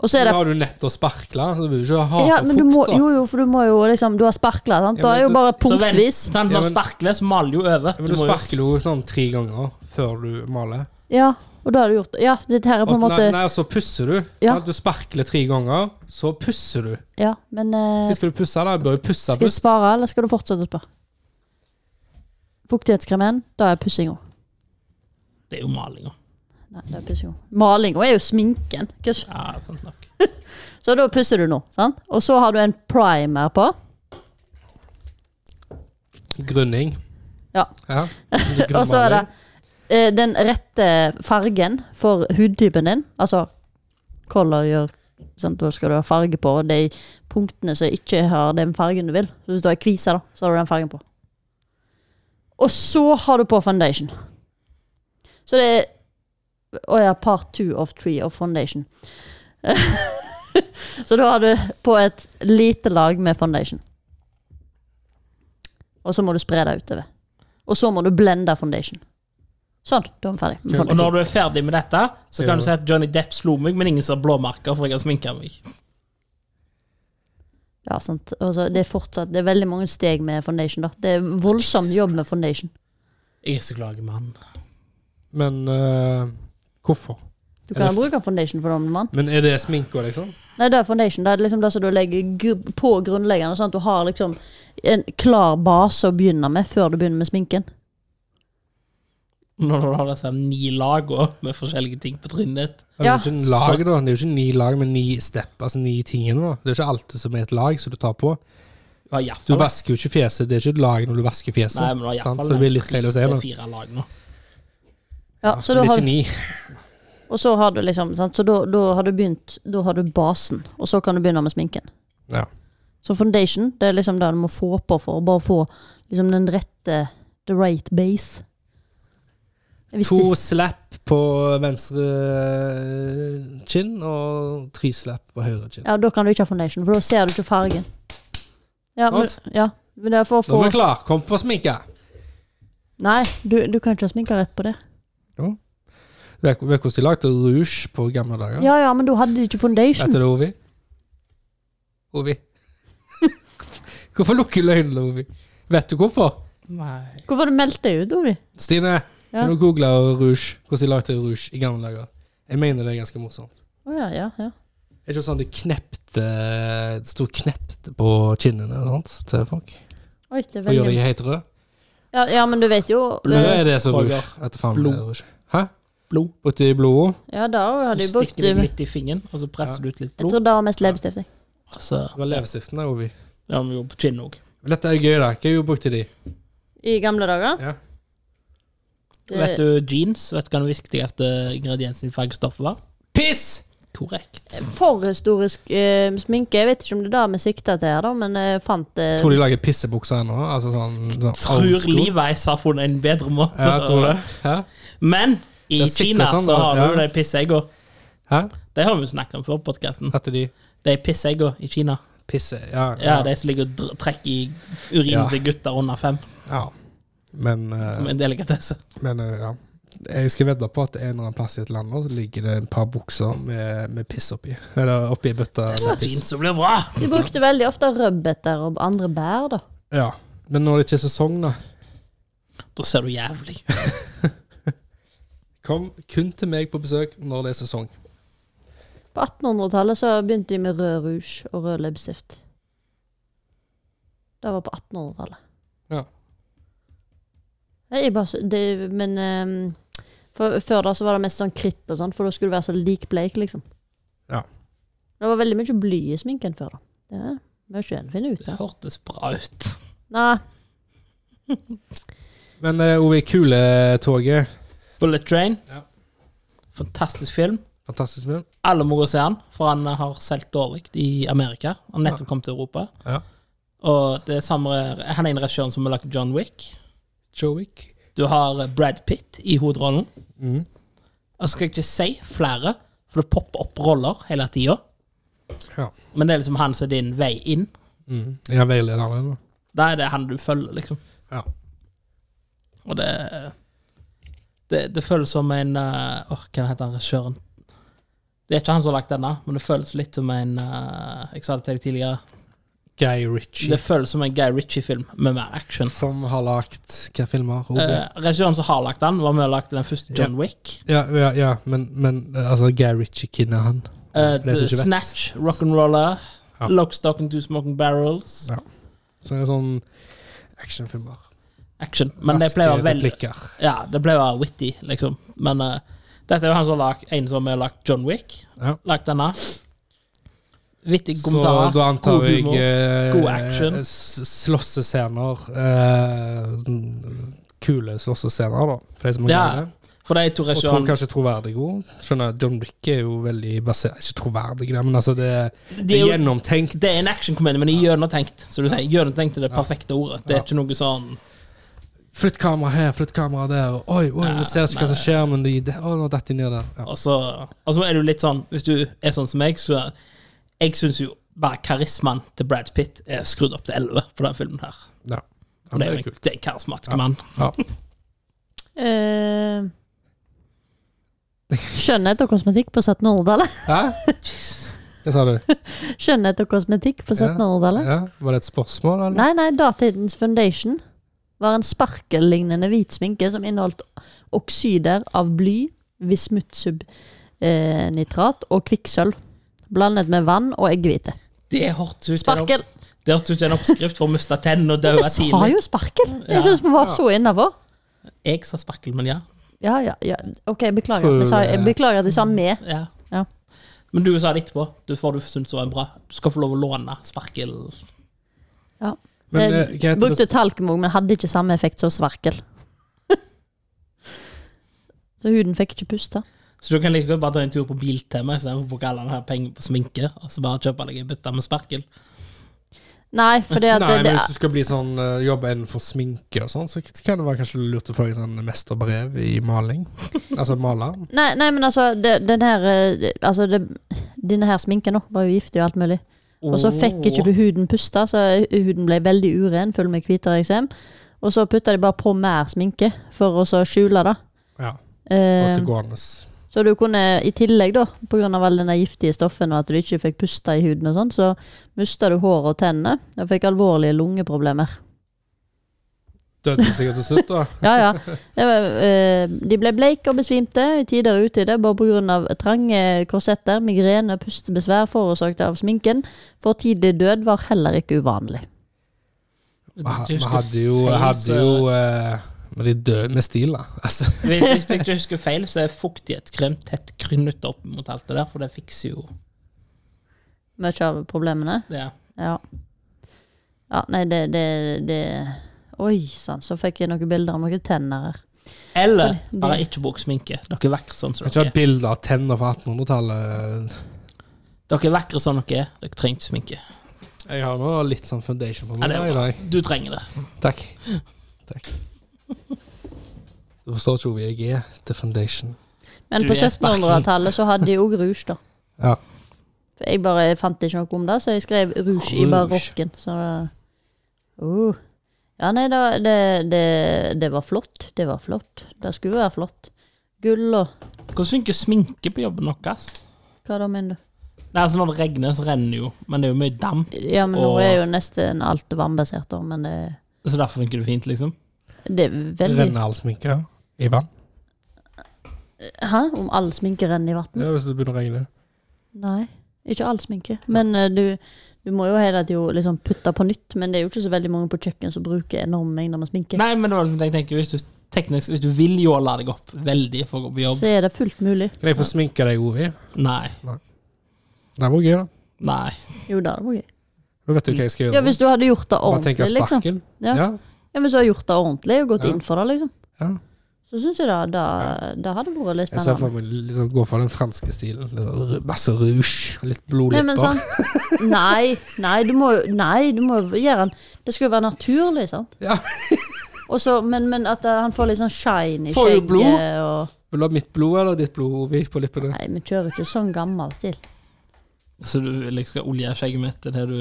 S3: Og så er
S1: Da
S3: det
S1: har du nettopp sparkla, så du vil ikke ha
S3: ja,
S1: på
S3: men du
S1: fukt,
S3: må,
S1: da.
S3: jo, jo, for du må jo liksom Du har sparkla, sant?
S1: Ja,
S3: Da
S1: men
S3: er jo
S1: du-
S3: bare
S2: Så vent-
S3: punktvis.
S2: sant, Når
S1: Ja,
S2: du
S1: men-
S2: sparkler, så maler jo over.
S1: Ja, men
S2: Du
S1: du
S2: må jo-
S1: sparker jo sånn tre ganger før du maler.
S3: Ja, og da har du gjort Ja, dette her er på
S1: Og,
S3: en
S1: nei,
S3: måte
S1: nei, og så pusser du.
S3: Ja.
S1: Sant? Du sparkler tre ganger, så pusser du.
S3: Ja, men eh,
S1: Hva skal du pusse, da? Du bør jo pusse
S3: Skal jeg
S1: først.
S3: svare, eller skal du fortsette å spørre? Fuktighetskremen, da er pussinga.
S2: Det er jo malinga.
S3: Nei, det er pussinga. Malinga er jo sminken. Hva s-
S2: Ja, sant nok.
S3: Så da pusser du nå, sant? Og så har du en primer på.
S1: Grunning.
S3: Ja.
S1: Ja.
S3: Og så er det eh, den rette fargen for hudtypen din. Altså color gjør sant? Da skal du ha farge på de punktene som ikke har den fargen du vil. Så hvis du har kvise, da, så har du den fargen på. Og så har du på foundation. Så det er Å ja, part two of three of foundation. så da har du på et lite lag med foundation. Og så må du spre det utover. Og så må du blende foundation. Sånn, da er vi ferdig. med
S1: Kult.
S2: Og
S3: foundation.
S2: når du er ferdig med dette, så kan du si at Johnny Depp slo meg, men ingen ser blåmerker, for jeg har sminka meg.
S3: Ja, sant. Altså, det er fortsatt Det er veldig mange steg med foundation. da Det er voldsom jobb med foundation.
S2: Jeg er så glad i mannen.
S1: Men eh, hvorfor?
S3: Du
S1: Er
S3: kan
S1: det
S3: bruke foundation for noen mann.
S1: Men er det sminka, liksom?
S3: Nei, det er foundation. Det er liksom det som du legger gr- på grunnleggende, sånn at du har liksom en klar base å begynne med før du begynner med sminken.
S2: Når du har disse ni lagene med forskjellige ting på trynet ditt.
S1: Altså, Det er
S3: Ja,
S1: jo ikke en lag, da. Det er jo ikke ni lag med ni step, altså ni tingene. da. Det er jo ikke alt som er et lag som du tar på.
S2: Du har i
S1: Du
S2: hvert fall-
S1: vasker jo ikke fjeset. Det er ikke et lag når du vasker fjeset.
S2: Nei, men du har i hvert
S1: sant?
S2: fall
S1: Så det blir litt
S2: tre
S1: feil å si.
S2: til
S1: da.
S2: fire lag nå.
S3: Ja, så da
S1: det er
S3: har,
S1: ikke ni.
S3: og så har du liksom sant? Så da, da har du begynt Da har du basen, og så kan du begynne med sminken.
S1: Ja.
S3: Så foundation, det er liksom det du må få på for å bare få liksom den rette The right base. Jeg visste
S1: To
S3: ikke-
S1: slap på venstre eh, kinn og tre slap på høyre kinn.
S3: Ja, da kan du ikke ha foundation, for da ser du ikke fargen. Ja, men, ja, men det er for å
S1: Nå er vi
S3: få
S1: klar. Kom på sminke.
S3: Nei, du, du kan ikke ha sminka rett på det.
S1: Du Vet vet hvordan de lagde rouge på gamle dager?
S3: Ja ja, men da hadde de ikke foundation.
S1: Vet du det, Ovi? Ovi. Hvorfor lukker du øynene, Ovi? Vet du hvorfor?
S2: Nei.
S3: Hvorfor har du meldt deg ut, Ovi?
S1: Stine,
S3: Ja.
S1: kan du google rouge? Hvordan de lagde rouge i gamle dager? Jeg mener det er ganske morsomt.
S3: Å ja, ja, ja.
S1: Det er ikke sånn det knepte Det sto knept på kinnene og sånt, til folk.
S3: Oi, det er
S1: For å gjøre
S3: veldig
S1: deg helt rød.
S3: ja, ja, men du vet jo
S1: Men da
S3: eh,
S1: er det så rouge.
S2: Roger.
S1: At det faen ble
S2: Blod.
S1: rouge. Hæ?
S2: Blod.
S1: Brukte de blodet?
S3: Ja, da
S2: Du
S3: hadde de brukt
S2: stikker det
S3: Jeg
S2: litt i fingeren, og så presser du ut litt blod.
S3: tror det var mest leppestift. jeg.
S2: Og så
S1: Det var leppestiftene, Ovi.
S2: Ja, men jo, på kinnet òg.
S1: Men Dette er gøy, da. Hva brukte de?
S3: I gamle dager.
S1: Ja.
S2: Vet
S3: Det,
S2: du jeans? Vet du hva den viktigste ingrediensen i fargestoffet var?
S1: Piss!
S3: Eh,
S2: Korrekt.
S3: forhistorisk eh, sminke, jeg vet ikke om det er det vi sikta til her, da, men jeg fant eh, det
S1: Tror de lager pissebukser ennå? Altså sånn, sånn old
S2: Tror
S1: school?
S2: Levi's har funnet en bedre måte.
S1: Ja, jeg tror det. Hæ?
S2: Men i
S1: Det er sikkert
S2: Kina
S1: sånn,
S2: så
S1: da.
S2: har du
S1: Ja.
S2: de pisseegga.
S1: Hæ?
S2: Det har vi jo snakket om før på podkasten.
S1: At de
S2: De pisseegga i Kina.
S1: pisser Ja.
S2: Ja, De som ligger og dr- trekker i urinen
S1: Ja.
S2: til gutter under fem,
S1: ja. Men, eh,
S2: som er en delikatesse.
S1: men eh, ja. Jeg skal vedde på at en eller annen plass i et land nå, så ligger det et par bukser med, med piss oppi. Eller oppi ei bøtte
S2: Så
S1: med piss.
S2: Jeans som blir bra!
S3: De brukte veldig ofte rødbeter og andre bær, da.
S1: Ja. Men når det ikke er sesong, da
S2: Da ser du jævlig ut.
S1: Kom kun til meg på besøk når det er sesong.
S3: På 1800-tallet så begynte de med rød rouge og rød leppestift. Det var på 1800-tallet.
S1: Ja.
S3: Nei, Jeg bare, så- det, men ehm, for, før da så var det mest sånn kritt og sånn, for da skulle du være så lik bleik, liksom.
S1: Ja.
S3: Det var veldig mye bly i sminken før, da. Det er mye en finner ut
S2: Det
S3: av.
S2: hørtes bra ut.
S3: Nei,
S1: Men eh, Ove, Kuletoget.
S2: Bullet Train.
S1: Ja.
S2: Fantastisk film.
S1: Fantastisk film.
S2: Alle må gå og se han, for han har solgt dårlig i Amerika. Han har nettopp kommet til Europa.
S1: Ja.
S2: Og det er samme, han er en regissør som har lagt John Wick.
S1: Jowick.
S2: Du har Brad Pitt i hovedrollen.
S1: Mm.
S2: Og så skal jeg ikke si flere, for det popper opp roller hele tida.
S1: Ja.
S2: Men det er liksom han som er din vei inn.
S1: Mm. Jeg veileder han.
S2: Da er det han du følger, liksom.
S1: Ja.
S2: Og det Det, det føles som en eh, Åh, hva heter han regissøren? Det er ikke han som har lagt denne, men det føles litt som en eh, Jeg sa det til deg tidligere.
S1: Guy Ritchie.
S2: Det føles som en Guy Ritchie-film med mer action.
S1: Som har lagt hvilke filmer? Ove?
S2: Eh, regissøren som har lagt den, var med og lagde den første John Wick.
S1: Oh, Ja, ja, ja men, men altså, Guy Ritchie kidner han.
S2: Eh,
S1: For de som ikke vet.
S2: Snatch, Rock'n'Roller,
S1: Ja.
S2: Lockstock and Two Smoking Barrels.
S1: Ja. Så det er sånn actionfilmer.
S2: Action. Men det
S1: eh,
S2: pleier å være veldig
S1: replikker.
S2: Ja, det ble bare witty, liksom. Men eh, dette er jo han som har lagt en som har lagt John Wick.
S1: Ja.
S2: Lagt denne. Vittig
S1: Så
S2: kommentarer.
S1: da antar
S2: god
S1: jeg
S2: humor.
S1: eh,
S2: god action.
S1: s- Slåssescener. Eh, kule slåssescener, da. For de som har
S2: Ja,
S1: greid det.
S2: For de to
S1: Og tror,
S2: regissørene
S1: kanskje troverdig god. Skjønner, John Wick er jo veldig basert Ikke troverdig, da, men altså, det,
S2: det,
S1: det
S2: er
S1: er
S2: jo-
S1: gjennomtenkt.
S2: det er en actionkomedie, men det er gjennomtenkt. Så du sier gjennomtenkt er det
S1: Ja.
S2: perfekte ordet. Det
S1: Ja.
S2: er ikke noe sånn
S1: Flytt kamera her, flytt kamera der. og Oi, oi, vi ser ikke hva som skjer, men de de- Å, nå datt de ned der. Ja.
S2: Og så og så er du litt sånn Hvis du er sånn som meg, så Jeg syns jo bare karismaen til Brad Pitt er skrudd opp til 11 på den filmen her.
S1: Ja. Ja, men
S2: Og det er jo en, det er en karismatisk mann.
S1: Ja.
S3: eh, Skjønnhet og kosmetikk på 1700-tallet.
S1: Hæ? Hva sa du?
S3: Skjønnhet og kosmetikk på 1700-tallet.
S1: Ja. Var det et spørsmål, eller?
S3: Nei, nei, datidens foundation var en sparkellignende hvit sminke som inneholdt oksider av bly, vismutsubnitrat og kvikksølv, blandet med vann og eggehvite.
S2: Det hørtes ut som-
S3: Sparkel!
S2: Det hørtes ut som en oppskrift for å miste tennene og dø
S3: Vi
S2: tidlig.
S3: sa jo sparkel! Jeg
S2: Ja.
S3: syns vi var så innafor.
S2: Jeg sa sparkel, men ja.
S3: Ja, ja, ja. Ok, beklager.
S1: Tror
S3: at vi sa,
S1: det-
S3: jeg beklager at jeg sa vi.
S2: Ja.
S3: Ja.
S2: Men du sa det etterpå. Du får du syntes det var en bra. Du skal få lov å låne sparkel.
S3: Ja.
S1: Men
S3: Eh,
S1: eh, hva heter
S3: Brukte
S1: det?
S3: talkumog, men hadde ikke samme effekt som svarkel. Så huden fikk ikke puste.
S2: Så du kan like godt bare ta en tur på Biltema istedenfor å bruke alle denne penger på sminke, og så bare kjøpe deg en bytte med sparkel.
S3: Nei, for det at
S1: Nei,
S3: det,
S1: men
S3: det,
S1: hvis du skal bli sånn, eh, jobbe innenfor sminke og sånn, så kan det være kanskje lurt å få deg sånn mesterbrev i maling. Altså maler.
S3: Nei, nei, men altså, det, den her eh, Altså, det, denne her sminken nå var jo giftig og alt mulig. Og så fikk ikke du huden puste, så eh, huden ble veldig uren, full med hvitere eksem. Og så putta de bare på mer sminke for å så skjule det.
S1: Ja.
S3: Eh,
S1: At det går an.
S3: så du kunne i tillegg, da, pga. alle de giftige stoffene og at du ikke fikk puste i huden og sånn, så mista du håret og tennene og fikk alvorlige lungeproblemer.
S1: Døde sikkert til slutt, da.
S3: Ja, ja. Det var, eh, de ble bleike og besvimte i tider og utide, bare pga. trange korsetter, migrene og pustebesvær forårsaket av sminken. For tidlig død var heller ikke uvanlig.
S1: Vi ha- vi hadde jo, hadde jo eh, Men de døde med stil, da. Altså,
S2: Hvis hvis jeg ikke husker feil, så er fuktighetskrem tett krynnet opp mot alt det der, for det fikser jo
S3: Mye av problemene.
S2: det.
S3: Ja. ja nei, det, det, det Oi sann, så fikk jeg noen bilder av noen tenner her.
S2: Eller
S3: For det-
S2: bare ikke bruk sminke. Dere er vakre sånn som
S1: jeg har ikke
S2: dere
S1: hatt
S2: er.
S1: bilder av tenner fra 1800-tallet.
S2: Dere er vakre sånn dere er. Dere trenger ikke sminke.
S1: Jeg har nå litt sånn foundation på
S2: Ja,
S1: meg
S2: det
S1: i
S2: er bra.
S1: dag.
S2: Du trenger det.
S1: Takk. Takk. Du forstår ikke hvor jeg er til foundation.
S3: Men
S2: Du
S3: på
S2: er sparken.
S3: 1700-tallet så hadde de òg rouge, da.
S1: Ja.
S3: For Jeg bare fant ikke noe om det, så jeg skrev rouge i
S1: Rouge.
S3: barokken. Så det uh. Ja, nei, da, det, det, det var flott. Det var flott. Det skulle være flott. Gull og
S2: Hvordan funker sminke på jobben deres?
S3: Hva da, mener du?
S2: Nei, altså Når det regner, så renner det jo, men det er jo mye damp.
S3: Ja, men nå
S2: Og-
S3: er jo nesten alt vannbasert, da, men det,
S2: Så derfor funker det fint, liksom.
S3: det er veldig
S1: Renner all sminke ja. i vann?
S3: Hæ? Om all sminke renner i vann?
S1: Ja, hvis det begynner å regne.
S3: Nei, ikke all sminke. Men eh, du, du må jo hele tida liksom putte på nytt, men det er jo ikke så veldig mange på kjøkken som bruker enorme mengder med sminke.
S2: Nei, men det var liksom det jeg tenker, hvis du, teknisk, hvis du vil jåle deg opp veldig for å gå på jobb
S3: Så er det fullt mulig.
S1: Kan jeg få sminke deg, Ovi?
S2: Nei.
S1: Det var gøy, da.
S2: Nei.
S3: Jo da, det var gøy.
S1: Nå vet du hva jeg skal gjøre.
S3: Ja, hvis du hadde gjort det
S1: Bare tenke
S3: ordentlig, liksom.
S1: sparken.
S3: Ja.
S1: Ja.
S3: Ja, men så har jeg gjort det ordentlig og gått
S1: Ja.
S3: inn for det, liksom.
S1: Ja.
S3: Så syns jeg da, da, da hadde det vært litt
S1: Jeg ser
S3: spennende.
S1: for meg liksom, gå for den franske stilen. Litt sånn ru- masse rouge, litt
S3: Nei, men sånn
S1: blodlepper.
S3: sant? Nei, nei, du må jo Nei, du må jo gjøre den Det skal jo være naturlig, sant?
S1: Ja.
S3: Og så, men, men at eh, han får litt sånn shine i
S1: Får jo
S3: skjegget
S1: blod.
S3: og
S1: Vil du ha mitt blod eller ditt blod, Ovi, på leppene?
S3: Nei, vi kjører ikke sånn gammel stil.
S2: Så du liksom skal olje skjegget mitt til det du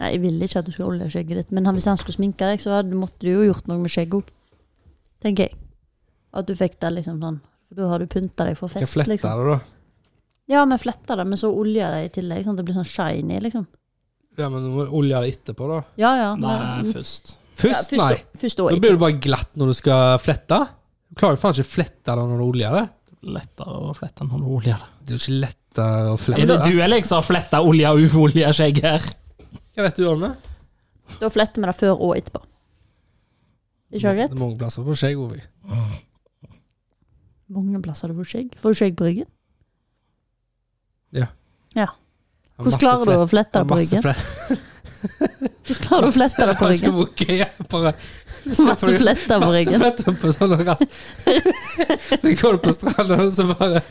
S3: Nei, Jeg ville ikke at du skulle olje skjegget ditt, men han, hvis han skulle sminke deg, så hadde, måtte du jo gjort noe med skjegget òg. Tenker jeg. At du fikk det liksom sånn. For da har du pynta deg for
S1: Skal jeg
S3: fest,
S1: flette
S3: liksom.
S1: det, da?
S3: Ja, vi fletter det, men så oljer det i tillegg. Sånn at det blir sånn shiny, liksom.
S1: Ja, men du må olje det etterpå, da.
S3: Ja, ja.
S2: Nei,
S3: mm.
S2: først.
S3: Ja,
S1: Først, nei.
S3: å- Først og
S1: Nå blir du bare glatt når du skal flette. Du klarer jo faen ikke å flette det når du oljer det.
S2: Lettere å flette enn å olje det.
S1: Det er jo ikke lettere å
S2: Er
S1: flette
S2: det
S1: det.
S2: du eller jeg som har fletta olje og ufolje skjegg her?
S1: Hva vet du om det?
S3: Da fletter vi det før og etterpå. Ikke
S1: Det
S3: greit?
S1: er mange plasser for skjegg, Ovi.
S3: Mange plasser har du fått skjegg. Får du skjegg på ryggen?
S1: Har masse
S3: Hvordan klarer du
S1: flett-
S3: å flette
S1: har
S3: det på
S1: masse
S3: ryggen?
S1: flett-
S3: Hvordan klarer du å flette det på
S1: Masse-
S3: ryggen?
S1: Jeg skal bare-
S3: Masse fletter på
S1: Masse
S3: ryggen.
S1: fletter på sånn og raskt. Så går du på stranda, og så bare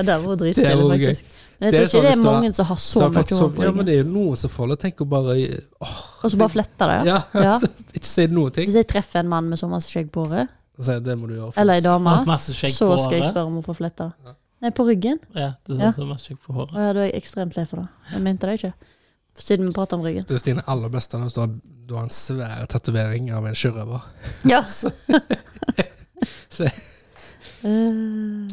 S3: Ja, det var
S1: Det
S3: dritstilig,
S1: var gøy.
S3: faktisk. Men jeg
S1: Det er
S3: tror ikke
S1: sånn
S3: det
S1: det
S3: er
S1: står.
S3: mange som har
S1: så
S3: så
S1: har jeg
S3: mye
S1: fått
S3: hår
S1: sånn-
S3: på
S1: Ja, men
S3: ryggen.
S1: det er jo noen som får det. Tenk å bare
S3: Og så bare fletter det, ja.
S1: Ja,
S3: Ja.
S1: altså, ikke si noen ting.
S3: Hvis jeg treffer en mann med så masse skjegg på håret,
S1: Så sier jeg, det må du gjøre først.
S3: eller ei dame,
S2: Masse skjegg
S3: så
S2: på
S3: skal jeg
S2: håret.
S3: spørre om å få flette det. Nei, på ryggen.
S2: Ja, det
S3: Ja.
S2: ser så masse skjegg på håret.
S3: Å ja, da er jeg ekstremt lei for det. Jeg mente det ikke. Siden vi prater om ryggen.
S1: Det er jo Stine aller beste når du har, du har en svær tatovering av en sjørøver.
S3: Ja.
S1: Så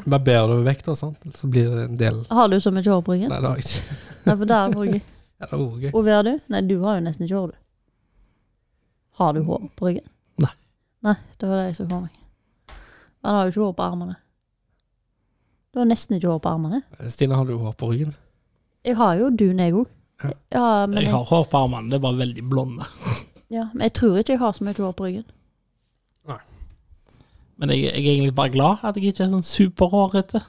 S1: barberer du vekk, da, sant? så blir det en del
S3: Eh, har du så mye hår på ryggen?
S1: Nei, det har jeg ikke.
S3: Nei, for der var jeg.
S1: Ja, det var gøy.
S3: Ove, har du? Nei, du har jo nesten ikke hår, du. Har du hår på ryggen?
S2: Nei.
S3: Nei, det var det jeg så for meg. Han har jo ikke hår på armene. Du har nesten ikke hår på armene.
S1: Stine, har du hår på ryggen?
S3: Jeg har jo dun, jeg òg.
S1: Ja.
S3: Ja, men
S2: Jeg
S3: jeg,
S2: har hår på armene, det er bare veldig blonde.
S3: ja, men jeg tror ikke jeg har så mye hår på ryggen.
S2: Men jeg, jeg er egentlig bare glad at jeg ikke er sånn superhårete.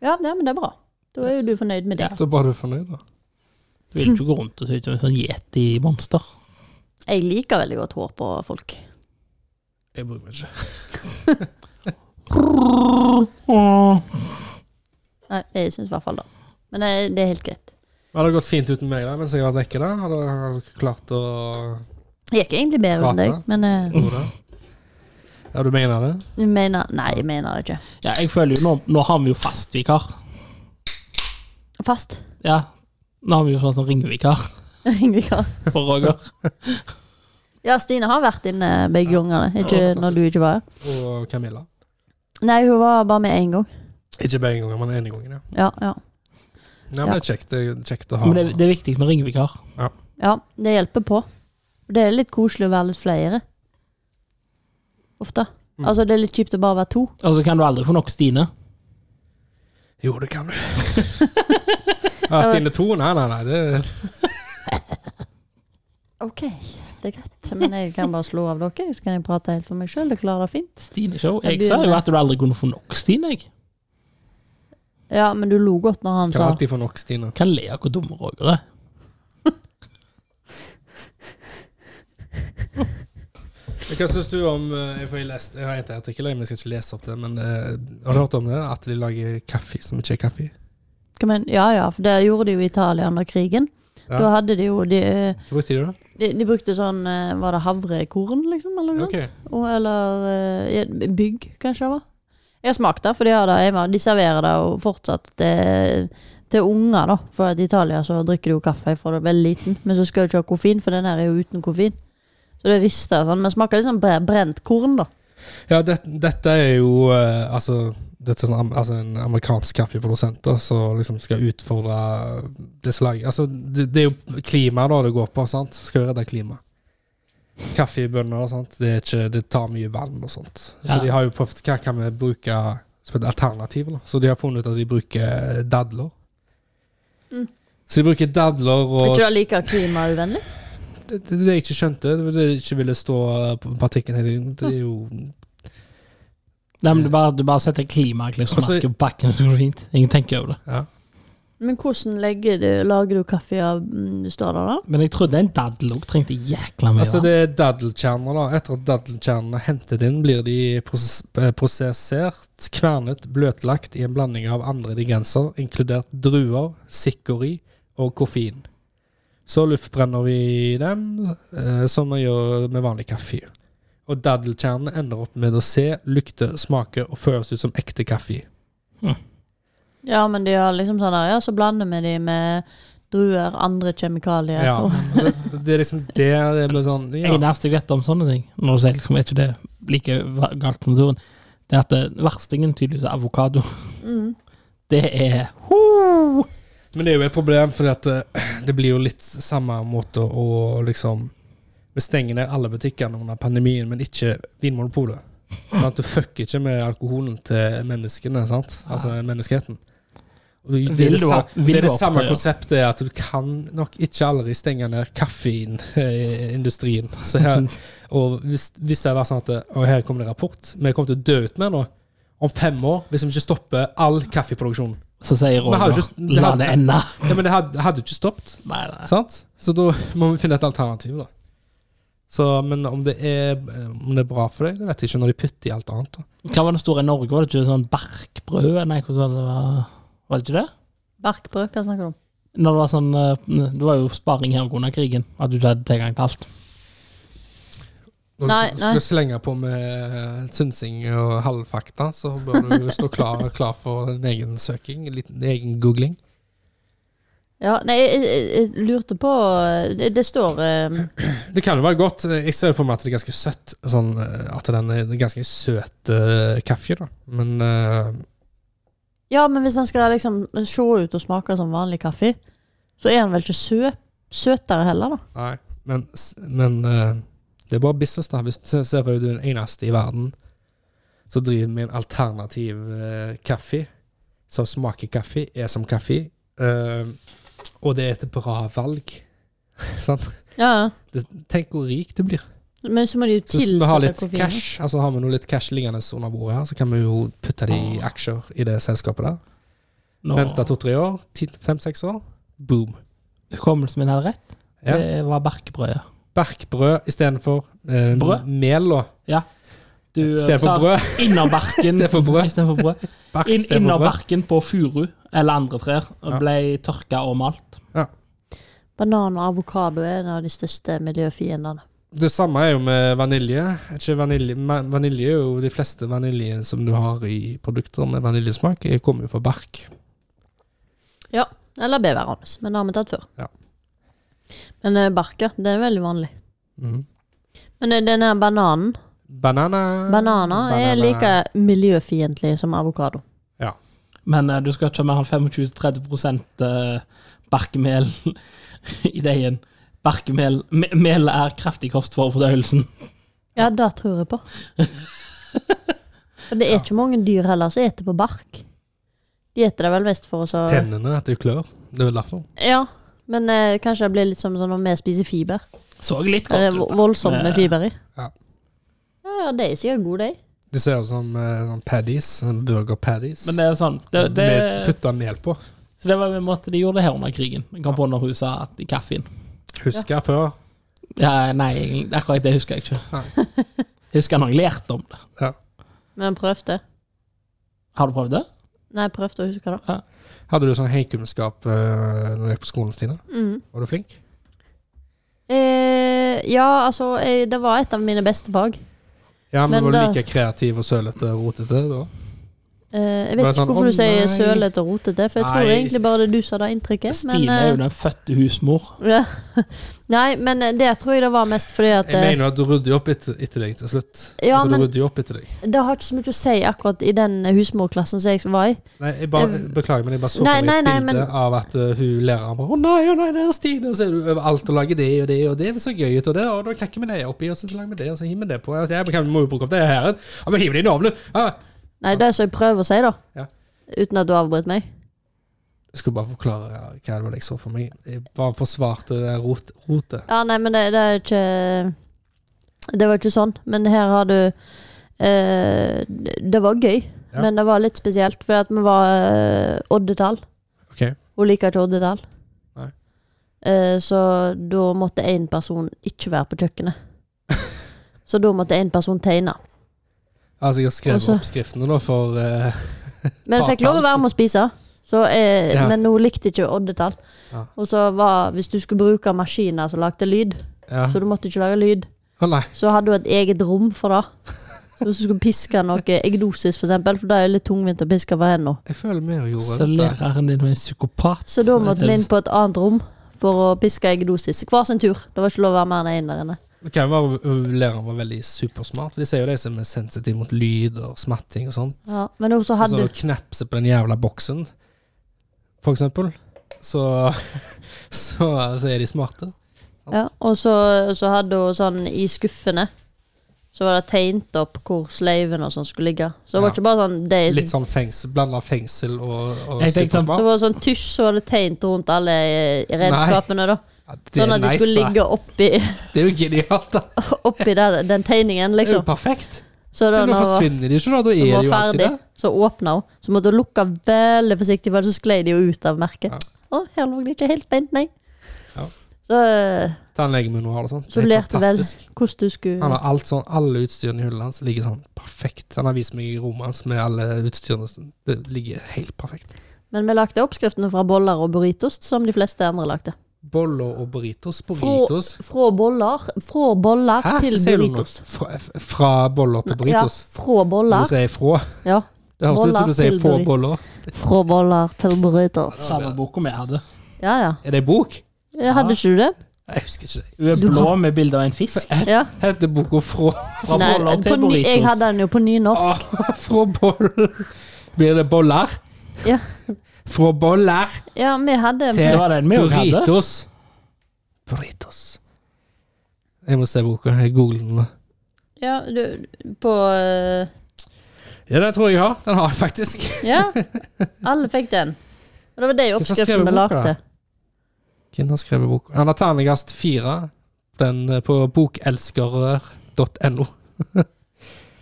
S3: Ja, ja, men det er bra. Da er jo du fornøyd med det.
S1: Så bare du er fornøyd, da.
S2: Du vil ikke gå rundt og se ut som en sånn yeti-monster.
S3: Jeg liker veldig godt hår på folk.
S1: Jeg bryr meg ikke.
S3: Nei, jeg syns i hvert fall det. Men eh, det er helt greit.
S1: Men Hadde det gått fint uten meg da, mens jeg var vekke? da? Hadde hadde dere klart å
S3: Det gikk egentlig bedre enn deg,
S1: Prate.
S3: men eh,
S1: gjøre det? Ja, du mener det?
S3: du mener Nei, jeg mener det ikke.
S2: Ja, jeg føler jo nå, nå har vi jo fast vikar.
S3: Fast.
S2: Ja. Nå har vi jo sånn sånn ringevikar
S3: Ringvikar.
S2: for Roger.
S3: Ja, Stine har vært inne begge gangene, ikke
S1: fantastisk.
S3: når du ikke var her.
S1: Og Camilla?
S3: Nei, hun var bare med én gang.
S1: Ikke begge ganger, men ene gangen, ja.
S3: Ja, ja.
S1: Nei, men Det er kjekt, det er kjekt å ha
S2: Men det, det er viktig med ringevikar.
S3: Ja, det hjelper på. Det er litt koselig å være litt flere. Ofte.
S1: Mm.
S3: Altså, det er litt kjipt å bare være to.
S2: Og så kan du aldri få nok Stine.
S1: Jo, det kan du. ja, Stine 2? Nei, nei, nei. Det,
S3: Ok, det er greit. Men jeg kan bare slå av dere, så kan jeg prate helt for meg sjøl. Det klarer det fint.
S2: Stine Show. Jeg
S3: Ja, du
S2: sa
S3: er
S2: jo
S3: med.
S2: at du aldri kunne få nok Stine. Jeg
S3: Ja, men du lo godt når han
S1: kan
S3: sa
S1: alltid få nok, Stine.
S2: kan le av hvor dumme Roger er.
S1: Hva syns du om eh, Jeg får jeg lest, jeg har en til artikkel, men jeg skal ikke lese opp det. Men eh, har du hørt om det? At de lager kaffe som ikke er kaffe?
S3: Hva men- Ja ja, for det gjorde de jo i Italia under krigen.
S1: Ja.
S3: Da hadde de jo De,
S1: Hva brukte de det?
S3: de, de brukte sånn eh, Var det havrekorn, liksom? Eller noe
S1: Ok.
S3: sånt? Og, eller eh, ja, bygg, kanskje det var. Jeg har smakt det, for de har det hjemme. De serverer det og fortsatt til, til unger, da. For at i Italia så drikker du jo kaffe fra du er veldig liten, men så skal du ikke ha koffein, for den her er jo uten koffein. Så det rister og sånn, men smaker litt sånn bre- brent korn, da.
S1: Ja, det, dette er jo eh, altså, dette er sånn, am- altså en amerikansk kaffeprodusent da, som liksom skal utfordre det slaget. Altså, det, det er jo klima da det går på, sant? Skal jo redde klima. Kaffebønner og sånt, det, er ikke, det tar mye vann og sånt. Så
S2: Ja.
S1: de har jo prøvd, hva kan vi bruke som et alternativ da? Så de har funnet ut at de bruker dadler.
S3: Mm.
S1: Så de bruker dadler og
S3: Er ikke det like klimauvennlig?
S1: det, det, det jeg ikke skjønte, det, det jeg ikke ville stå på partikken hele tiden, det er jo
S2: Nei, men du bare, du bare setter klimaklistremerke
S1: Altså-
S2: på bakken, så går det fint. Ingen tenker over det.
S1: ja.
S3: Men hvordan legger du, lager du kaffe av mm, Står det da?
S2: Men jeg trodde en daddel òg trengte jækla mye.
S1: Altså
S2: vann.
S1: det er daddelkjerner da Etter at daddelkjernene er hentet inn Blir de proses eh, prosessert Kvernet, bløtlagt i en blanding av andre ingredienser Inkludert druer, sikkori og koffein Så luftbrenner vi dem eh, Som vi gjør med vanlig kaffe Og daddelkjernene ender opp med å se Lukte, smake og føles ut som ekte kaffe
S3: Ja, men de har liksom sånn der, ja, så blander vi de med druer, andre kjemikalier
S1: Ja,
S3: og
S1: men det, det er liksom det det blir sånn ja.
S2: eneste jeg vet om sånne ting, når du sier liksom, er ikke det like va- galt som naturen, det er at det- verstingen tydeligvis er avokado.
S1: Mm.
S2: Det er ho!
S1: Men det er jo et problem, for det, det blir jo litt samme måte å liksom Vi stenger ned alle butikkene under pandemien, men ikke Vinmonopolet. Sånn at du fucker ikke med alkoholen til menneskene, sant? Altså menneskeheten. Og Det det
S2: Ah. Vil
S1: er det,
S2: du
S1: sa-
S2: opp- vil
S1: det, er
S2: du
S1: det
S2: opp
S1: samme
S2: til, ja.
S1: konseptet, at du kan nok ikke aldri stenge ned kaffeindustrien. Så her, og hvis, hvis det var sånn at Og her kommer det rapport. Vi kommer til å dø ut med nå om fem år hvis vi ikke stopper all kaffeproduksjon.
S2: Så sier
S1: Men har du
S2: Roger,
S1: ikke- det
S2: la
S1: har-
S2: det ende.
S1: Ja, men det hadde, hadde jo ikke stoppet.
S2: Nei, nei.
S1: Sant? Så da må vi finne et alternativ, da. Så, men om det, er, eh, om det er bra for deg, det vet jeg ikke, når de putter i alt annet. da.
S2: Hva var det store i Norge? Var det ikke sånn barkbrød? Nei, hvordan var det? det? var- Var det ikke det?
S3: barkbrød. Hva snakker du om?
S2: Når det var sånn, eh, det var jo sparing her under krigen, at du ikke hadde tilgang til alt.
S1: Når
S3: Nei,
S1: du
S3: nei.
S1: skal slenge på med eh, synsing og halvfakta, så bør du stå klar, klar for en egen søking, en liten egen googling.
S3: Ja, nei, jeg, jeg, jeg lurte på Det, det står eh,
S1: Det kan jo være godt. Eh, Jeg ser for meg at det er ganske søtt. Sånn, eh, at den er en ganske søt eh, kaffe, da. Men eh,
S3: Ja, men hvis den skal liksom se ut og smake som vanlig kaffe, så er den vel ikke sø, søtere heller, da.
S1: Nei, men, men eh, det er bare business, da. Hvis du ser- ser for deg at du er den eneste i verden som driver med en alternativ eh, kaffe, som smaker kaffe, er som kaffe, eh, og det er et bra valg. Sant?
S3: Ja, ja.
S1: Det, tenk hvor rik du blir.
S3: Men så må de jo
S1: Så hvis vi har
S3: tilsette
S1: litt
S3: koffein.
S1: cash, altså har vi noe litt cash liggende under bordet her, så kan vi jo putte det i aksjer i det selskapet der.
S2: Nå,
S1: Vente to-tre år, ti- fem-seks år, boom.
S2: Hukommelsen min hadde rett.
S1: Ja.
S2: Det var barkbrødet.
S1: Barkbrød istedenfor eh,
S2: Brød?
S1: mel, da.
S2: Du eh,
S1: Istedenfor
S2: tar
S1: brød.
S2: Innerbarken.
S1: Istedenfor brød.
S2: Istedenfor brød.
S1: Bark
S2: Inn,
S1: istedenfor brød.
S2: innerbarken på furu eller andre trær
S1: Ja.
S2: ble tørka og malt.
S3: Banan og avokado er en av de største miljøfiendene.
S1: Det samme er jo med vanilje. Er Ikke vanilje, ma- vanilje er jo De fleste vanilje som du har i produkter med vaniljesmak, er- kommer jo fra bark.
S3: Ja, eller beverandus, men det har vi tatt før.
S1: Ja.
S3: Men eh, bark, ja. Det er veldig vanlig.
S2: Mm.
S1: Mhm.
S3: Men eh, den her bananen
S1: Banana
S3: Bananer er
S1: Banana.
S3: like miljøfiendtlig som avokado.
S2: Men eh, du skal ikke ha mer enn 25-30 eh, barkemel i deigen. Barkemel me- Mel er kraftig kost for fordøyelsen.
S3: Ja, det tror jeg på. Og det er ikke mange dyr heller som eter på bark. De eter det vel mest for oss å
S1: Tennene etter klør. Det er vel derfor.
S3: Ja, men eh, kanskje det blir litt som sånn når vi spiser fiber.
S2: Så litt
S3: Det er
S2: godt
S3: vo-
S2: ut.
S3: voldsomt med
S2: Med-
S3: fiber i.
S1: Ja.
S3: Ja, ja, de er sikkert gode, de.
S1: Det ser ut som eh, sånn paddies. sånn Burger paddies.
S2: Men det er sånn det, det,
S1: Med putta mel på.
S2: Så det var en måte de gjorde det her under krigen. Jeg kom på når hun sa at i kaffen.
S1: Husker jeg før.
S2: Ja, nei, akkurat det husker jeg ikke. Jeg husker når jeg lærte om det.
S3: Men prøv det.
S2: Har du prøvd det?
S3: Nei, prøv å huske det.
S1: Hadde du sånn heikunnskap eh, når du gikk på skolen, Stine?
S3: Mm.
S1: Var du flink?
S3: Eh, ja, altså, eh, det var et av mine beste fag.
S1: Ja, men,
S3: Men
S1: var du
S3: da-
S1: like kreativ og sølete og rotete da?
S3: Eh, jeg
S1: Var
S3: vet
S1: det
S3: ikke
S1: sånn,
S3: hvorfor
S1: «Å,
S3: du sier
S1: nei».
S3: sølete og rotete, for jeg tror
S1: Nei.
S3: egentlig bare det er du som har det inntrykket.
S2: Stine er
S3: eh,
S2: jo den fødte husmor.
S3: Ja. Nei, men eh, det tror jeg det var mest fordi at
S1: Jeg
S3: eh,
S1: mener jo at du rydder jo opp etter, etter deg til slutt.
S3: Ja,
S1: altså,
S3: men-
S1: du rydder jo opp etter deg.
S3: Det har ikke så mye å si akkurat i den husmorklassen som jeg var i.
S1: Nei, jeg bare, Beklager, men jeg bare så
S3: Nei,
S1: på meg et
S3: nei, nei,
S1: bilde
S3: men-
S1: av at eh, hun læreren bare 'Å nei, å nei, der er Stine.' Og så er du overalt og lager det og det og det. Det er så gøy ut, og det, og da klekker vi det oppi, og så lager vi det, og så hiver vi det på. Og så, ja, men kan, vi må jo bruke opp det her. Ja, men hiv det inn i ovnen. Ja.
S3: Nei, det er så jeg prøver å si, da.
S1: Ja.
S3: Uten at du avbrøt meg.
S1: Jeg skulle bare forklare hva det var jeg så for meg. Jeg bare forsvarte det rot, rotet.
S3: Ja, nei, men det, det er ikke Det var ikke sånn. Men her har du eh, Det det var gøy,
S1: Ja.
S3: men det var litt spesielt, fordi at vi var eh, oddetall.
S1: Ok.
S3: Hun liker ikke oddetall.
S1: Nei.
S3: Eh, så da måtte én person ikke være på kjøkkenet. så da måtte én person tegne.
S1: Altså, jeg har skrevet
S3: Og så-
S1: oppskriftene nå for eh,
S3: Men jeg fikk
S1: Partall.
S3: lov å være med å spise. Så jeg,
S1: Ja.
S3: Men hun likte ikke oddetall.
S1: Ja.
S3: Og så var Hvis du skulle bruke maskiner som lagde lyd,
S1: Ja.
S3: så du måtte ikke lage lyd,
S1: Å nei.
S3: så hadde hun et eget rom for det. Så hvis du skulle piske noe egnosis, for eksempel, for det er jo litt tungvint å piske for henne.
S1: Jeg føler vi gjorde
S2: Så
S1: dette.
S2: læreren din var en psykopat.
S3: Så da måtte vi inn på et annet rom for å piske egnosis. Hver sin tur. Det var ikke lov å være mer enn én der inne.
S1: Det kan jo være ø, læreren var veldig supersmart. De sier jo de som er sensitive mot lyd og smatting og sånt.
S3: Ja. Men hun så
S1: Og Så
S3: hadde
S1: å knepse på den jævla boksen, for eksempel, så, så, så er de smarte.
S3: Ja, og så, så hadde hun sånn i skuffene så var det tegnet opp hvor sleiven og sånn skulle ligge. Så det var
S1: Ja.
S3: ikke bare sånn det,
S1: Litt sånn fengsel, blanda fengsel og, og
S2: Jeg tenkte sånn-
S3: Så var
S1: supersmart.
S3: det sånn tusj så var det tegnt rundt alle eh, redskapene, da.
S1: Ja, det,
S3: Sånn
S1: er
S3: at de
S1: nice,
S3: skulle
S1: da.
S3: ligge oppi,
S1: det er jo genialt, da.
S3: oppi der, den tegningen,
S1: Det er jo
S3: liksom.
S1: perfekt.
S3: Så da
S1: Men nå
S3: når hun
S1: forsvinner de ikke, da. Da er
S3: når
S1: de
S3: hun
S1: jo
S3: var
S1: alltid
S3: ferdig,
S1: der.
S3: så åpna hun. Så måtte hun lukke veldig forsiktig, for ellers så sklei de jo ut av merket.
S1: Ja.
S3: Å, her lå det ikke helt beint, nei.
S1: Ja.
S3: Så, eh,
S1: Tannlegemunn og alt sånt.
S3: så
S1: Det er
S3: lærte vel
S1: fantastisk.
S3: hvordan du
S1: Han
S3: skulle
S1: har alt sånn, alle utstyrene i hullet hans ligger sånn perfekt. Han har vist meg i rommet hans med alle utstyrene. som- Det ligger helt perfekt.
S3: Men vi lagde oppskriftene fra boller og burritos, som de fleste andre lagde.
S1: Boller og burritos.
S3: Fra,
S1: Burritos.
S3: fra boller, fra boller
S1: Hæ?
S3: til
S1: Hva sier du nå?
S3: burritos.
S1: Fra, f- fra boller til burritos?
S3: Ja, fra
S1: Du
S3: boller.
S1: sier fra.
S3: Ja,
S1: Det høres ut som
S3: Boller
S1: du sier
S3: til
S1: få
S3: burrito.
S1: boller.
S3: fra boller til burritos.
S2: Samme boka vi hadde.
S3: Ja, ja.
S1: Er det en bok?
S3: Ja, Hadde ikke du det?
S1: Jeg husker ikke. det.
S2: Hun er
S3: Du
S2: blå med bilde av en fisk.
S3: Ja.
S1: Heter boka Fra,
S2: Fra
S3: Nei,
S2: boller
S3: på
S2: til
S3: ny, jeg hadde
S2: burritos.
S3: den jo på
S1: Ah.
S3: nynorsk.
S1: fra boller Blir det boller?
S3: Ja.
S1: Fra boller
S3: Ja, vi hadde
S2: Det
S1: til
S2: var den vi også hadde.
S1: burritos. Burritos. Jeg må se boka. Jeg googler den. nå.
S3: Ja, du, på øh,
S1: Ja, den tror jeg jeg har. Den har jeg faktisk.
S3: Ja, alle fikk den. Og det var de
S1: som skrev
S3: oppskriftene vi
S1: boka, da?
S3: lagde.
S1: Hvem har skrevet boka? Han har terningkast fire Den eh, på bokelskere.no.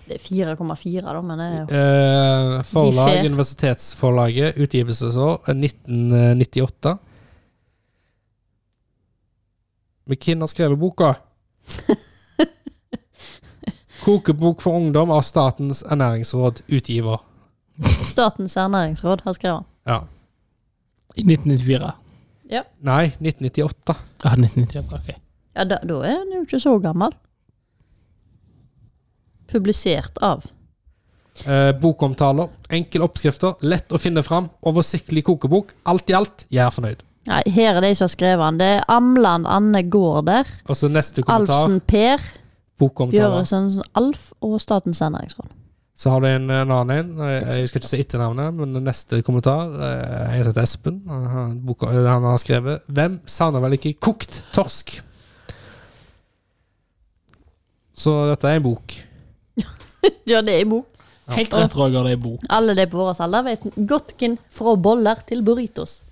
S3: Det er 4,4, da, men det er jo
S1: Eh, forlag,
S3: Biffé.
S1: Universitetsforlaget, utgivelsesår eh, 1998. McKinn har skrevet boka. 'Kokebok for ungdom' av Statens ernæringsråd, utgiver.
S3: Statens ernæringsråd har skrevet.
S1: Ja.
S2: I 1994.
S1: Nei, 1998.
S2: Ja, 1993, ok.
S3: Ja, da, da er han jo ikke så gammel. Publisert av
S1: Eh, bokomtaler, enkle oppskrifter, lett å finne fram, oversiktlig kokebok. Alt i alt, jeg er fornøyd.
S3: Nei, her er de som har skrevet den. Det er Amland Anne Gaarder,
S1: Og så neste kommentar.
S3: Alfsen Per,
S1: Bokomtaler.
S3: Bjørresensen Alf og Statens ernæringsråd.
S1: Så har du en, en annen en. Jeg, jeg skal ikke si etternavnet, men den neste kommentar. eh, En som heter Espen. Han, har- boka, eh, han har skrevet 'Hvem savner vel ikke kokt torsk?' Så dette er en bok.
S3: Ja, det er i bok. eh,
S2: Helt rett, Roger, det er bok.
S3: Alle de på vår alder vet Gotkin fra boller til burritos.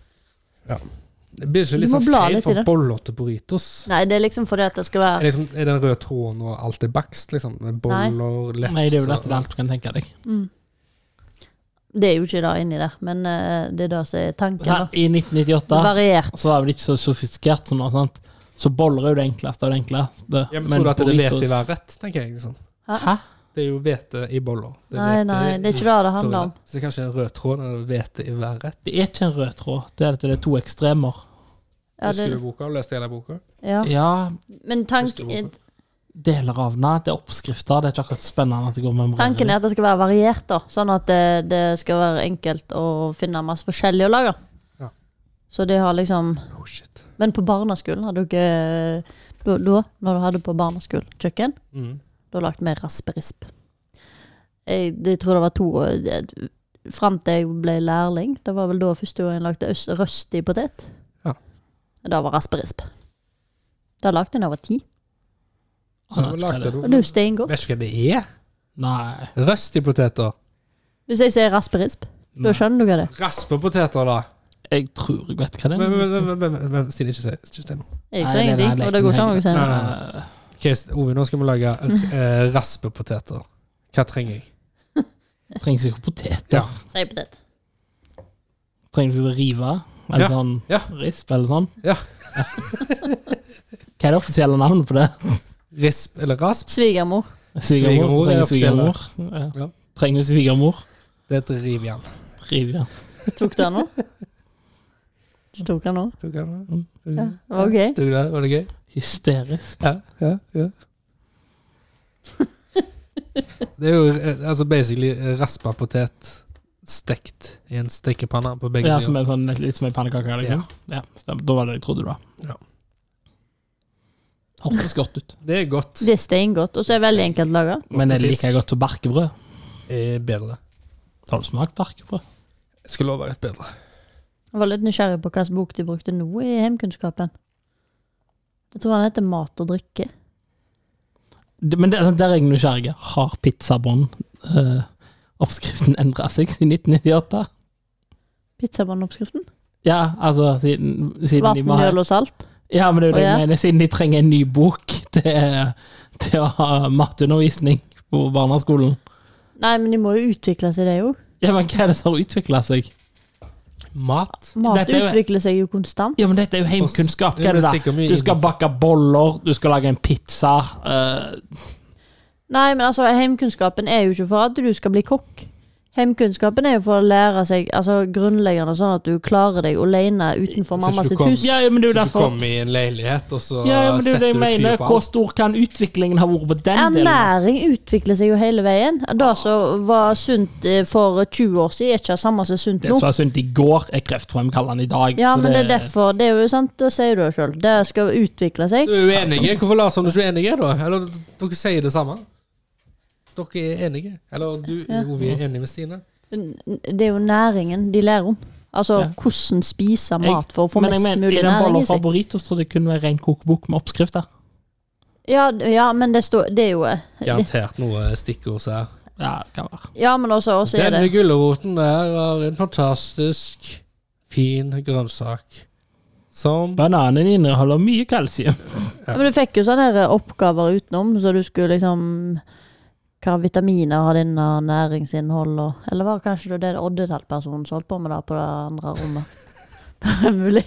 S1: Det blir ikke
S3: Du
S1: liksom
S3: må bla
S1: feil
S3: litt i
S1: for
S3: det.
S1: boller til burritos.
S3: Nei, det er liksom fordi at det skal
S1: Er,
S3: være
S1: liksom, er den røde tråden og alt er bakst? Liksom? Med Boller, lefser
S2: Nei, det er jo dette det er alt du kan tenke deg.
S3: Det er jo ikke det inni der, men eh, det er det som er tanken.
S2: Så Sånn her,
S3: da.
S2: I 1998
S3: Variert.
S1: Altså,
S2: så var det ikke så sofistikert som nå, sant? Så boller er jo det enkleste av det enkle. Det.
S1: Ja, men tror du at det er
S2: burritos-
S1: hvete i hver rett, tenker jeg. Liksom.
S2: Hæ?
S1: Det er jo hvete i boller. Det er
S3: Nei,
S1: hvete
S3: nei, det
S1: i-
S3: er ikke det det handler om.
S1: Så det er kanskje en rød tråd når det er hvete i hver rett.
S2: Det er ikke en rød tråd. Det er at det er to ekstremer.
S3: Ja,
S1: Husker
S3: det,
S1: du boka? Leste hele boka?
S3: ja.
S2: Ja,
S3: Men
S1: Husker du
S3: tanken,
S1: hvorfor?
S2: deler av den. Det er oppskrifter. Det er ikke akkurat spennende at det går med
S3: eh, tanken er at det skal være variert, da. Sånn at det, det skal være enkelt å finne masse forskjellig å lage.
S1: Ja.
S3: Så det har liksom
S1: Oh, shit.
S3: Men på barneskolen hadde du ikke Da, da når du hadde på barneskolen kjøkken,
S1: Mm.
S3: da lagde vi rasperisp. Jeg, det- jeg tror det var to år- det- Fram til jeg ble lærling. Det var vel da første gang jeg lagde øst- røstig potet.
S1: Ja.
S3: Da var rasperisp. Da lagde jeg da jeg var ti.
S1: Ja, men lagde
S3: Og det er
S1: du
S3: jo steingodt.
S1: Vet du hva det er?
S2: Nei.
S1: Røstipoteter.
S3: Hvis jeg sier rasperisp, da
S2: Nei.
S3: skjønner du hva det er.
S1: Raspepoteter, da.
S2: Jeg tror jeg vet hva det
S1: Men,
S2: er.
S1: men, men, men, men, men Stine, ikke si- ikke si noe.
S3: Jeg
S2: Nei,
S3: skjønner
S2: nei,
S3: ingenting,
S2: nei,
S3: og det går ikke an å si
S1: nei,
S3: noe.
S1: nei. Ok, Ove, nå skal vi lage eh, raspepoteter. Hva trenger jeg?
S2: Det Trengs ikke poteter.
S1: Ja.
S3: Si potet.
S2: Trengs ikke rive. Eller
S1: Ja,
S2: sånn
S1: ja.
S2: risp, eller sånn.
S1: Ja.
S2: Hva er det offisielle navnet på det?
S1: Risp eller rasp?
S3: Svigermor.
S2: Svigermor?
S1: Svigermor er
S2: Trenger
S1: offisielle.
S2: svigermor.
S1: Ja.
S2: Ja. Trenger svigermor?
S1: Det heter rivjern.
S2: Riv, ja.
S3: Tok du den nå? Du tok den nå?
S1: Tok jeg det?
S3: Ja, det var gøy.
S1: Tok du det? Mm. Var det gøy?
S2: Hysterisk.
S1: Ja, ja, ja. Det er jo eh, altså basically eh, raspa potet stekt i en stekepanne på begge
S2: Ja, som
S1: sider.
S2: er sånn, litt som en pannekake? Liksom. Ja. stemmer. Da var det jeg trodde det var.
S1: Ja.
S2: Hørtes godt ut.
S1: Det er godt.
S3: Det er steingodt, og så er det veldig enkelt laga.
S2: Men er det
S1: Fisk.
S2: like godt som barkebrød?
S1: Eh, bedre.
S2: Har du smakt barkebrød?
S1: Jeg skulle love deg et bedre.
S3: Jeg var litt nysgjerrig på hvilken bok de brukte nå i Heimkunnskapen. Jeg tror han heter Mat og drikke.
S2: Det- Men der, der er jeg nysgjerrig. Har pizzabånd eh, oppskriften endra seg siden 1998?
S3: Pizzabåndoppskriften.
S2: Ja, altså siden, siden de
S3: Vann,
S2: må ha
S3: mjøl og salt.
S2: Ja, men det er jo det
S3: Å, ja.
S2: jeg mener. Siden de trenger en ny bok til, til å ha matteundervisning på barneskolen.
S3: Nei, men de må jo utvikle seg, det jo.
S2: Ja, men hva er det som har utvikla seg?
S1: Mat.
S3: Mat
S2: Dette er jo-
S3: utvikler seg jo konstant.
S2: Ja, men dette er jo heimkunnskap. Hva er det
S1: sikkert
S2: da?
S1: mye
S2: Du skal
S1: innenfor-
S2: bakke boller, du skal lage en pizza. eh,
S3: Nei, men altså, heimkunnskapen er jo ikke for at du skal bli kokk. Heimkunnskapen er jo for å lære seg altså, grunnleggende sånn at du klarer deg alene utenfor
S1: Så ikke
S3: mamma
S1: du
S3: sitt
S1: kom-
S3: hus.
S2: ja, ja, men det
S1: Så
S2: er jo
S1: du
S2: derfor
S1: kommer i en leilighet, og så
S2: ja, ja, men det er jo det
S1: setter
S2: jeg
S1: du fyr
S2: mener.
S1: på
S2: Hvor
S1: alt.
S2: stor kan utviklingen ha vært på den delen?
S3: Ernæring utvikler seg jo hele veien. Det som var sunt eh, for 20 år siden, er ikke det samme som er sunt
S2: Det
S3: nå.
S2: som var sunt i går, er kreftfremkallende i dag.
S3: Ja,
S2: så
S3: men det er derfor. Det er jo sant, da sier du det sjøl. Det skal utvikle seg.
S1: Du er uenige. Hvorfor later som du ikke er enige, da? Eller dere sier det samme. Dere er enige. Eller du Ovi er enig med Stine.
S3: Det er jo næringen de lærer om. Altså
S2: Ja.
S3: hvordan spise
S2: Jeg-
S3: mat for å få
S2: men jeg
S3: mest
S2: mener,
S3: mulig
S2: I den
S3: næring
S2: bollen
S3: i
S2: fra
S3: seg.
S2: Burritos trodde jeg kun var en ren kokebok med oppskrifter.
S3: Ja, d- ja men det, står, det er jo eh,
S1: Garantert noe stikkord her.
S2: Ja, det kan være.
S3: Ja, men også, også er det
S1: Denne gulroten der er en fantastisk fin grønnsak. Som
S2: Bananen inneholder mye kalsium.
S3: Ja, men du fikk jo sånne her oppgaver utenom, så du skulle liksom Hva vitaminer har din og næringsinnhold og Eller var det kanskje det det oddetallpersonen som holdt på med det på det andre rommet? Er det Mulig.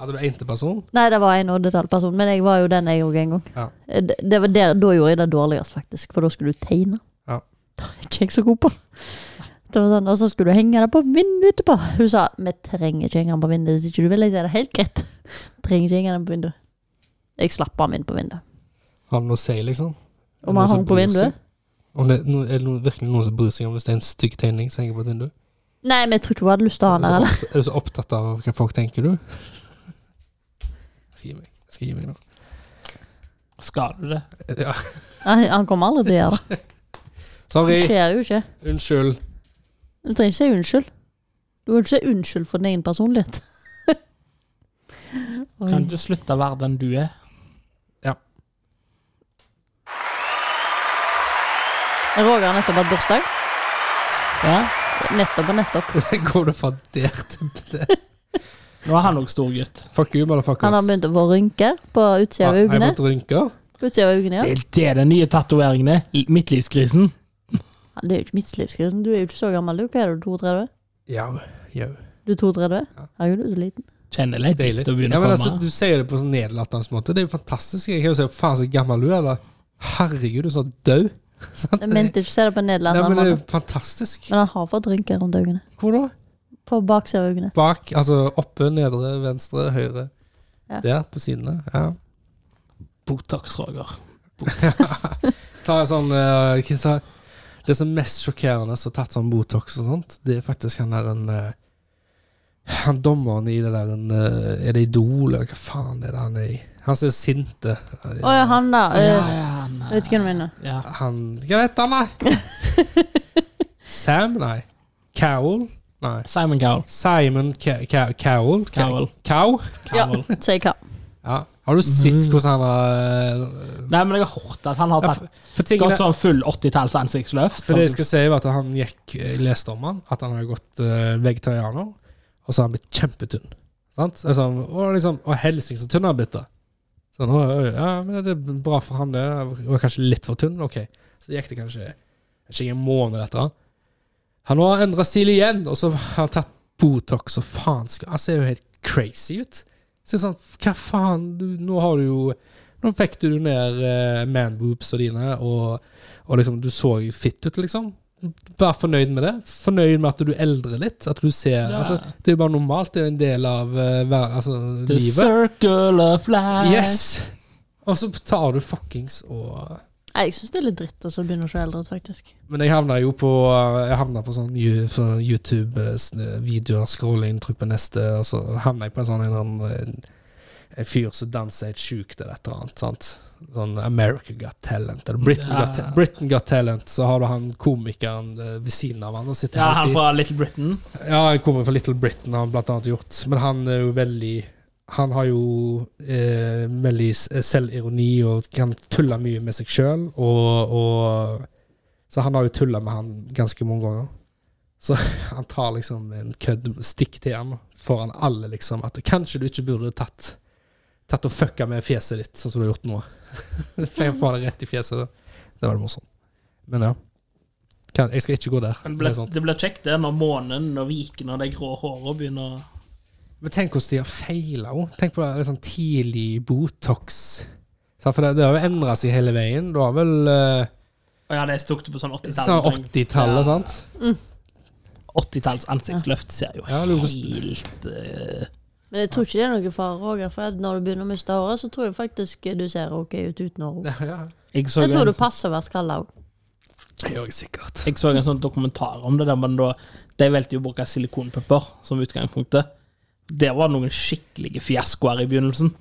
S1: Hadde du ente person?
S3: Nei, det var en oddetallperson, men jeg var jo den jeg òg en gang.
S1: Ja.
S3: Det, det var der, da gjorde jeg det dårligst, faktisk, for da skulle du tegne.
S1: Ja.
S3: Det er ikke jeg så god på. Det var sånn, og så skulle du henge det på vinduet etterpå. Hun sa vi trenger ikke henge den på vinduet hvis ikke du vil. Jeg sier det er helt greit. Trenger ikke henge den på vinduet. Jeg slapp den inn på vinduet.
S1: Har du noe å si, liksom? Er det
S3: Om han
S1: noen som
S3: hang på
S1: bryr seg?
S3: vinduet?
S1: Om det, no, er det noen, virkelig noen som bryr seg om hvis det er en stygg tegning som henger på et vindu?
S3: Nei, men jeg tror ikke hun hadde lyst til å ha han der.
S1: er,
S3: Eller?
S1: du så opp- er du så opptatt av hva folk tenker, du? Jeg skal gi meg. Jeg skal gi meg nå.
S2: Skal du det?
S1: Ja.
S3: Nei, Han kommer aldri til å gjøre det. Det
S1: Sorry.
S3: skjer jo ikke.
S1: Unnskyld.
S3: Du trenger ikke si unnskyld. Du kan ikke si unnskyld for din egen personlighet. Oi.
S2: Kan du slutte å være den du er?
S3: Roger har nettopp hatt bursdag.
S2: Ja.
S3: Nettopp og nettopp.
S1: Går du fra der til det?
S2: Nå er han òg stor gutt.
S1: Fuck you, motherfuckers.
S3: Han har begynt å få rynker på utsida
S1: Ah,
S3: av
S1: Har jeg
S3: øynene.
S1: fått rynker?
S3: På utsida av øynene, ja.
S2: Det er det den nye tatoveringen er. Midtlivskrisen.
S3: Det er jo ikke midtlivskrisen. Du er jo ikke så gammel, du. Hva er du, 32?
S1: Ja. ja.
S3: Du er 32?
S1: Ja.
S3: Herregud, du er så liten.
S2: Kjenner litt
S1: Deilig.
S2: til å begynne
S1: Ja,
S2: å
S1: men
S2: komme.
S1: altså, du sier det på sånn nedlatende måte. Det er jo fantastisk. Jeg kan jo si faen så gammel du er. Eller herregud, du er snart død. Sant?
S3: Jeg mente ikke å si det på en
S1: Nei,
S3: nederlender,
S1: men det er jo
S3: men,
S1: fantastisk.
S3: han har fått rynker rundt øynene.
S1: Hvor da?
S3: På baksida av øynene.
S1: Bak, altså oppe, nedre, venstre, høyre.
S3: Ja.
S1: Der, på sidene. Ja.
S2: Botox, Roger.
S1: Ta en sånn eh, hva sa jeg? Det som er mest sjokkerende som har tatt sånn Botox og sånt, det er faktisk han der en eh, Han dommeren i det der en eh, Er det Idol, eller hva faen er det han er i? Han som er sinte.
S3: Å ja, han da. eh,
S2: ja, nei.
S3: Jeg vet ikke hva du mener.
S2: Ja.
S1: Han Hva heter han, da? Sam? Nei. Cowell? Nei.
S2: Simon Cowell.
S1: Simon Ca Ca Cowell? Ca-
S2: Cowell.
S1: Cow?
S2: Cowell.
S3: Si hva.
S1: Ja. Har du sett hvordan han har
S2: Nei, men jeg har hørt at han har
S1: Ja,
S2: tatt
S1: for, for tingene,
S2: gått sånn full 80-talls ansiktsløft.
S1: For det jeg
S2: Sånn-
S1: skal si var at han gikk, jeg leste om han, at han hadde gått eh, vegetarianer, og så har han blitt kjempetynn. Sant? Altså, og liksom, og helsing så tynn han har blitt da. Sånn, «Oi, oi, ja, men det er bra for han det, jeg var kanskje litt for tynn, ok. Så gikk det kanskje ikke en måned etter han. Han har endret stil igjen, og så har han tatt Botox og faen skal, han ser jo helt crazy ut. Så jeg er sånn, hva faen, du, nå har du jo, nå fikk du ned eh, man-boobs og dine, og og liksom, du så jo fitt ut, liksom. Vær fornøyd med det. Fornøyd med at du eldrer litt. At du ser
S2: Ja.
S1: altså, Det er jo bare normalt. Det er en del av eh, hver, altså,
S2: The
S1: livet.
S2: circle of life.
S1: Yes! Og så tar du fuckings og
S3: Nei, jeg syns det er litt dritt å så begynne å se eldre ut, faktisk.
S1: Men jeg havna jo på Jeg havna på sånn Ju- så eh, YouTube-videoer, scrolling, trykk på neste, og så havna jeg på en sånn en, eller annen, eh, en fyr som danser helt sjukt eller et eller annet. sant? Sånn America Got Talent eller Britain,
S2: Ja.
S1: got, Ta- Britain Got Talent. Så har du han komikeren eh, ved siden av han og sitter
S2: Ja, han
S1: alltid
S2: fra Little Britain.
S1: Ja, han kommer fra Little Britain, har han blant annet gjort. Men han er jo veldig Han har jo eh, veldig s- selvironi og kan tulle mye med seg sjøl, og, og Så han har jo tulla med han ganske mange ganger. Så han tar liksom en kødd stikk til han foran alle, liksom. At kanskje du ikke burde tatt Tatt og fucka med fjeset ditt, sånn som du har gjort nå. For jeg får det rett i fjeset. Da. Det var det morsomt. Men ja. Kan, jeg skal ikke gå der.
S2: Men
S1: Det
S2: ble,
S1: er sånt.
S2: det blir kjekt det når månen og vikene og de grå hårene begynner å
S1: Men tenk hvordan de har feila òg. Tenk på det, litt sånn tidlig Botox. Sant, For det, det har jo endra seg hele veien. Du har vel eh,
S2: Å ja, de tok det på sånn 80-tallet.
S1: sånn 80-tallet,
S2: Ja.
S1: sant?
S2: 80-talls ansiktsløft ser jo
S1: Ja, jeg lurer på-
S2: helt eh,
S3: Men jeg tror ikke det er noe fare, Roger. For at når du begynner å miste håret, så tror jeg faktisk du ser ok ut uten hår.
S1: Ja, ja.
S2: jeg, så
S3: Jeg tror
S2: en,
S3: du passer å være skalla òg.
S1: Det gjør jeg sikkert.
S2: jeg så en sånn dokumentar om det, der men da de valgte jo å bruke silikonpupper som utgangspunktet. Der var det noen skikkelige fiaskoer i begynnelsen.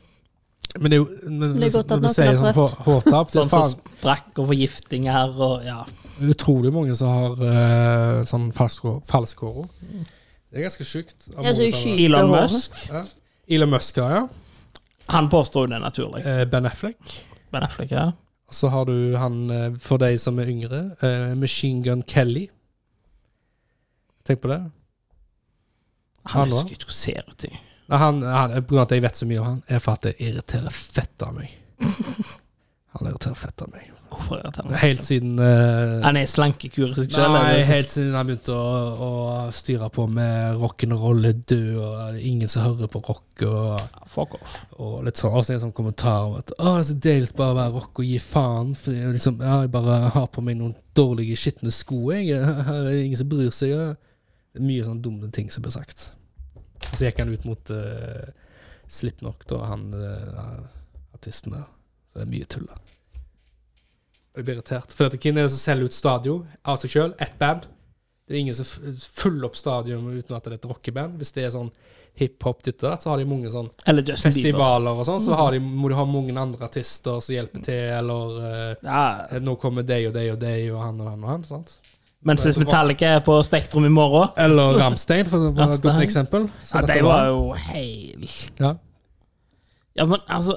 S1: Men det er jo men,
S3: Det er godt at
S1: når du
S3: noen
S1: sier
S3: har
S1: sånn
S3: prøvd.
S1: hår- hårtap Det
S2: Sånn
S1: er
S2: som
S1: faen
S2: sprakk og forgiftinger og ja.
S1: utrolig mange som har eh, sånn falsk hår- falsk hår òg. Det er ganske sjukt. av
S3: Mm. Ja, så
S1: mange
S3: jeg
S1: som har-
S3: skyter
S2: Elon
S3: håret.
S2: Musk,
S1: Ja. Elon Musk, har, ja.
S2: han påstår jo det naturlig.
S1: Eh, Ben Affleck.
S2: Ben Affleck, ja.
S1: Og så har du han, eh, for de som er yngre, eh, Machine Gun Kelly. Tenk på det.
S2: Han
S1: Han da?
S2: husker ikke hvordan ser ut i.
S1: Nei, Han, han, på grunn av at jeg vet så mye om han, er for at det irriterer fett av meg. Han irriterer fett av meg.
S2: Hvorfor irriterer han?
S1: Helt siden eh,
S2: Han er i slankekur i seg selv.
S1: Nei,
S2: eller?
S1: helt siden han begynte å, å styre på med rock'n'roll er død, og det er ingen som hører på rock, og,
S2: Fuck off.
S1: og litt sånn. Og så en sånn kommentar om at å, det er så deilig bare å være rock og gi faen. For jeg, liksom, ja, jeg bare har på meg noen dårlige, skitne sko, jeg. Her er ingen som bryr seg. ja. Det er mye sånne dumme ting som blir sagt. Og så gikk han ut mot eh, Slipknot, da, han eh, artisten der. Så det er mye tull. da. Og Jeg blir irritert. For at hvem er det som selger ut stadion av seg sjøl? Ett band. Det er ingen som f- fyller opp stadion uten at det er et rockeband. Hvis det er sånn hiphop, ditt og datt, så har de mange sånn
S2: Eller Justin Bieber.
S1: festivaler og sånn. Så har de,
S2: Mm.
S1: må de ha mange andre artister som hjelper til, eller
S2: Ja,
S1: eh, Nå kommer de og de og de og han og han og han. sant?
S2: mens hvis Metallica er på Spektrum i morgen
S1: Eller Ramstein, for å være et godt
S2: Rammstein.
S1: eksempel. Så
S2: ja,
S1: dette
S2: De
S1: Sånn var-
S2: var jo helt
S1: ja.
S2: Ja, men altså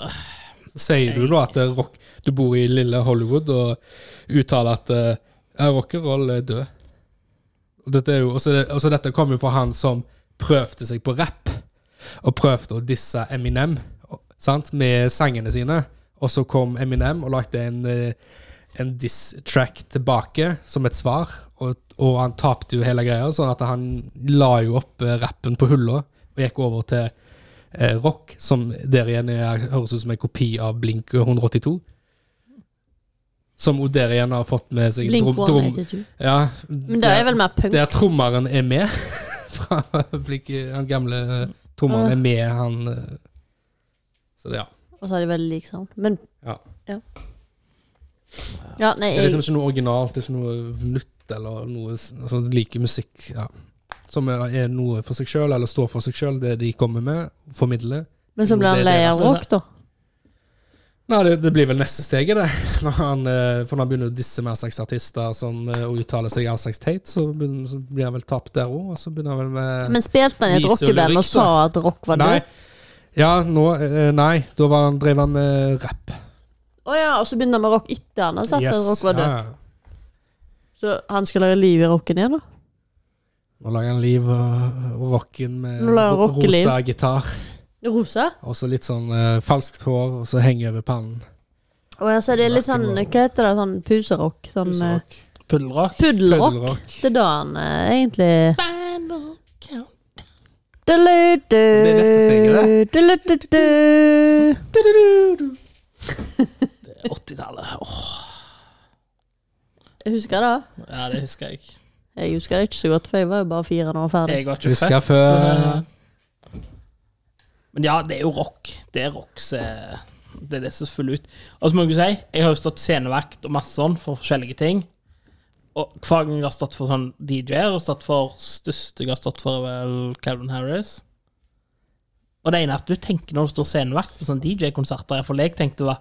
S1: Sier du da at det er rock, du bor i lille Hollywood og uttaler at eh, ja, rock'n'roll er død? Og dette, er jo, og så det- og så dette kom jo fra han som prøvde seg på rapp, og prøvde å disse Eminem og- sant, med sangene sine. Og så kom Eminem og lagde en, eh, en diss-track tilbake som et svar, og, og han tapte jo hele greia, sånn at han la jo opp eh, rappen på hullet og gikk over til eh, rock, som der igjen er, høres ut som en kopi av Blink 182. Som hun der igjen har fått med seg
S3: Blink
S1: drom- drom-
S3: 182.
S1: ja,
S3: Men det er vel mer punk.
S1: Der trommeren er med. Fra Blink, han gamle eh, trommeren er med, han eh. Så det, ja.
S3: Og så har de veldig lik sound. Men
S1: Ja.
S3: ja. Ja, nei,
S1: Det er
S3: jeg
S1: liksom ikke noe originalt, det er ikke noe nytt eller noe s- altså, like musikk ja. som er, er noe for seg sjøl, eller står for seg sjøl, det de kommer med, formidler.
S3: Men så ble han
S1: Det er
S3: lei av
S1: deres.
S3: rock, da.
S1: Nei, det, det blir vel neste steget, det. Når han, eh, for når han begynner å disse med all slags artister som, eh, og uttale seg all slags teit, så, begynner, så blir han vel tapt der òg. Og så begynner han vel med
S3: Men spilte han i et
S1: Lise og
S3: rockeband
S1: Ulrik,
S3: og sa at rock var
S1: Nei.
S3: død?
S1: Ja, nå eh, Nei, da var han, drev han med rapp.
S3: Å ja, og så begynte han med rock etter han hadde sagt at rock var død.
S1: ja, ja.
S3: Så han skal lage liv i rocken igjen, da?
S1: Nå lager han liv og og rocken med
S3: Nå lager han
S1: ro-
S3: rockeliv.
S1: rosa gitar.
S3: Rosa?
S1: Og så litt sånn eh, falskt hår, og så henge over pannen.
S3: Å ja, så det er litt sånn Hva heter det? Sånn puserock? Sånn eh,
S1: Puserock.
S2: Puddlerock.
S3: puddelrock?
S1: Puddelrock.
S3: Det er da han eh, egentlig
S2: Final count.
S3: Det er
S1: er neste steget,
S3: det.
S2: Det er 80-tallet. Åh,
S3: Jeg husker det.
S2: ja, det husker jeg.
S3: Jeg husker det ikke så godt, for jeg var jo bare fire når jeg var ferdig.
S2: Jeg var ikke
S1: Husker
S2: født.
S1: jeg før
S2: så- Men ja, det er jo rock. Det er rock som Det er det som følger ut. Og så må jeg jo si, jeg har jo stått scenevakt og masse sånn for forskjellige ting. Og hver gang jeg har stått for sånn DJ-er, og stått for største jeg har stått for, er vel Calvin Harris. Og det eneste du tenker når du står scenevakt på sånne DJ-konserter, iallfall jeg tenkte, var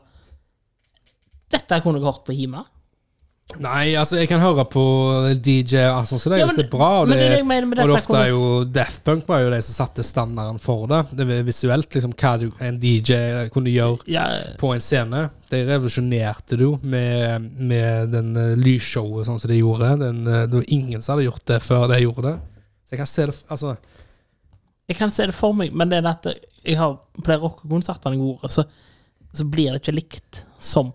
S2: Dette kunne jeg hørt på hjemme.
S1: Nei, altså, jeg kan høre på DJ og sånn som det,
S2: Ja,
S1: hvis det
S2: men-
S1: er bra. Og
S2: men
S1: det,
S2: det er det jeg mener med
S1: og det
S2: dette,
S1: ofte er jo Daft Punk var jo de som satte standarden for det. Det var Visuelt, liksom, hva du, en DJ kunne gjøre
S2: Ja,
S1: på en scene. De revolusjonerte det jo med, med den eh, lysshowet sånn som de gjorde. Den, eh, det var ingen som hadde gjort det før de gjorde det. Så jeg kan se det f- Altså,
S2: Jeg kan se det for meg, men det er at jeg har på de rockekonsertene jeg har vært, så, så blir det ikke likt som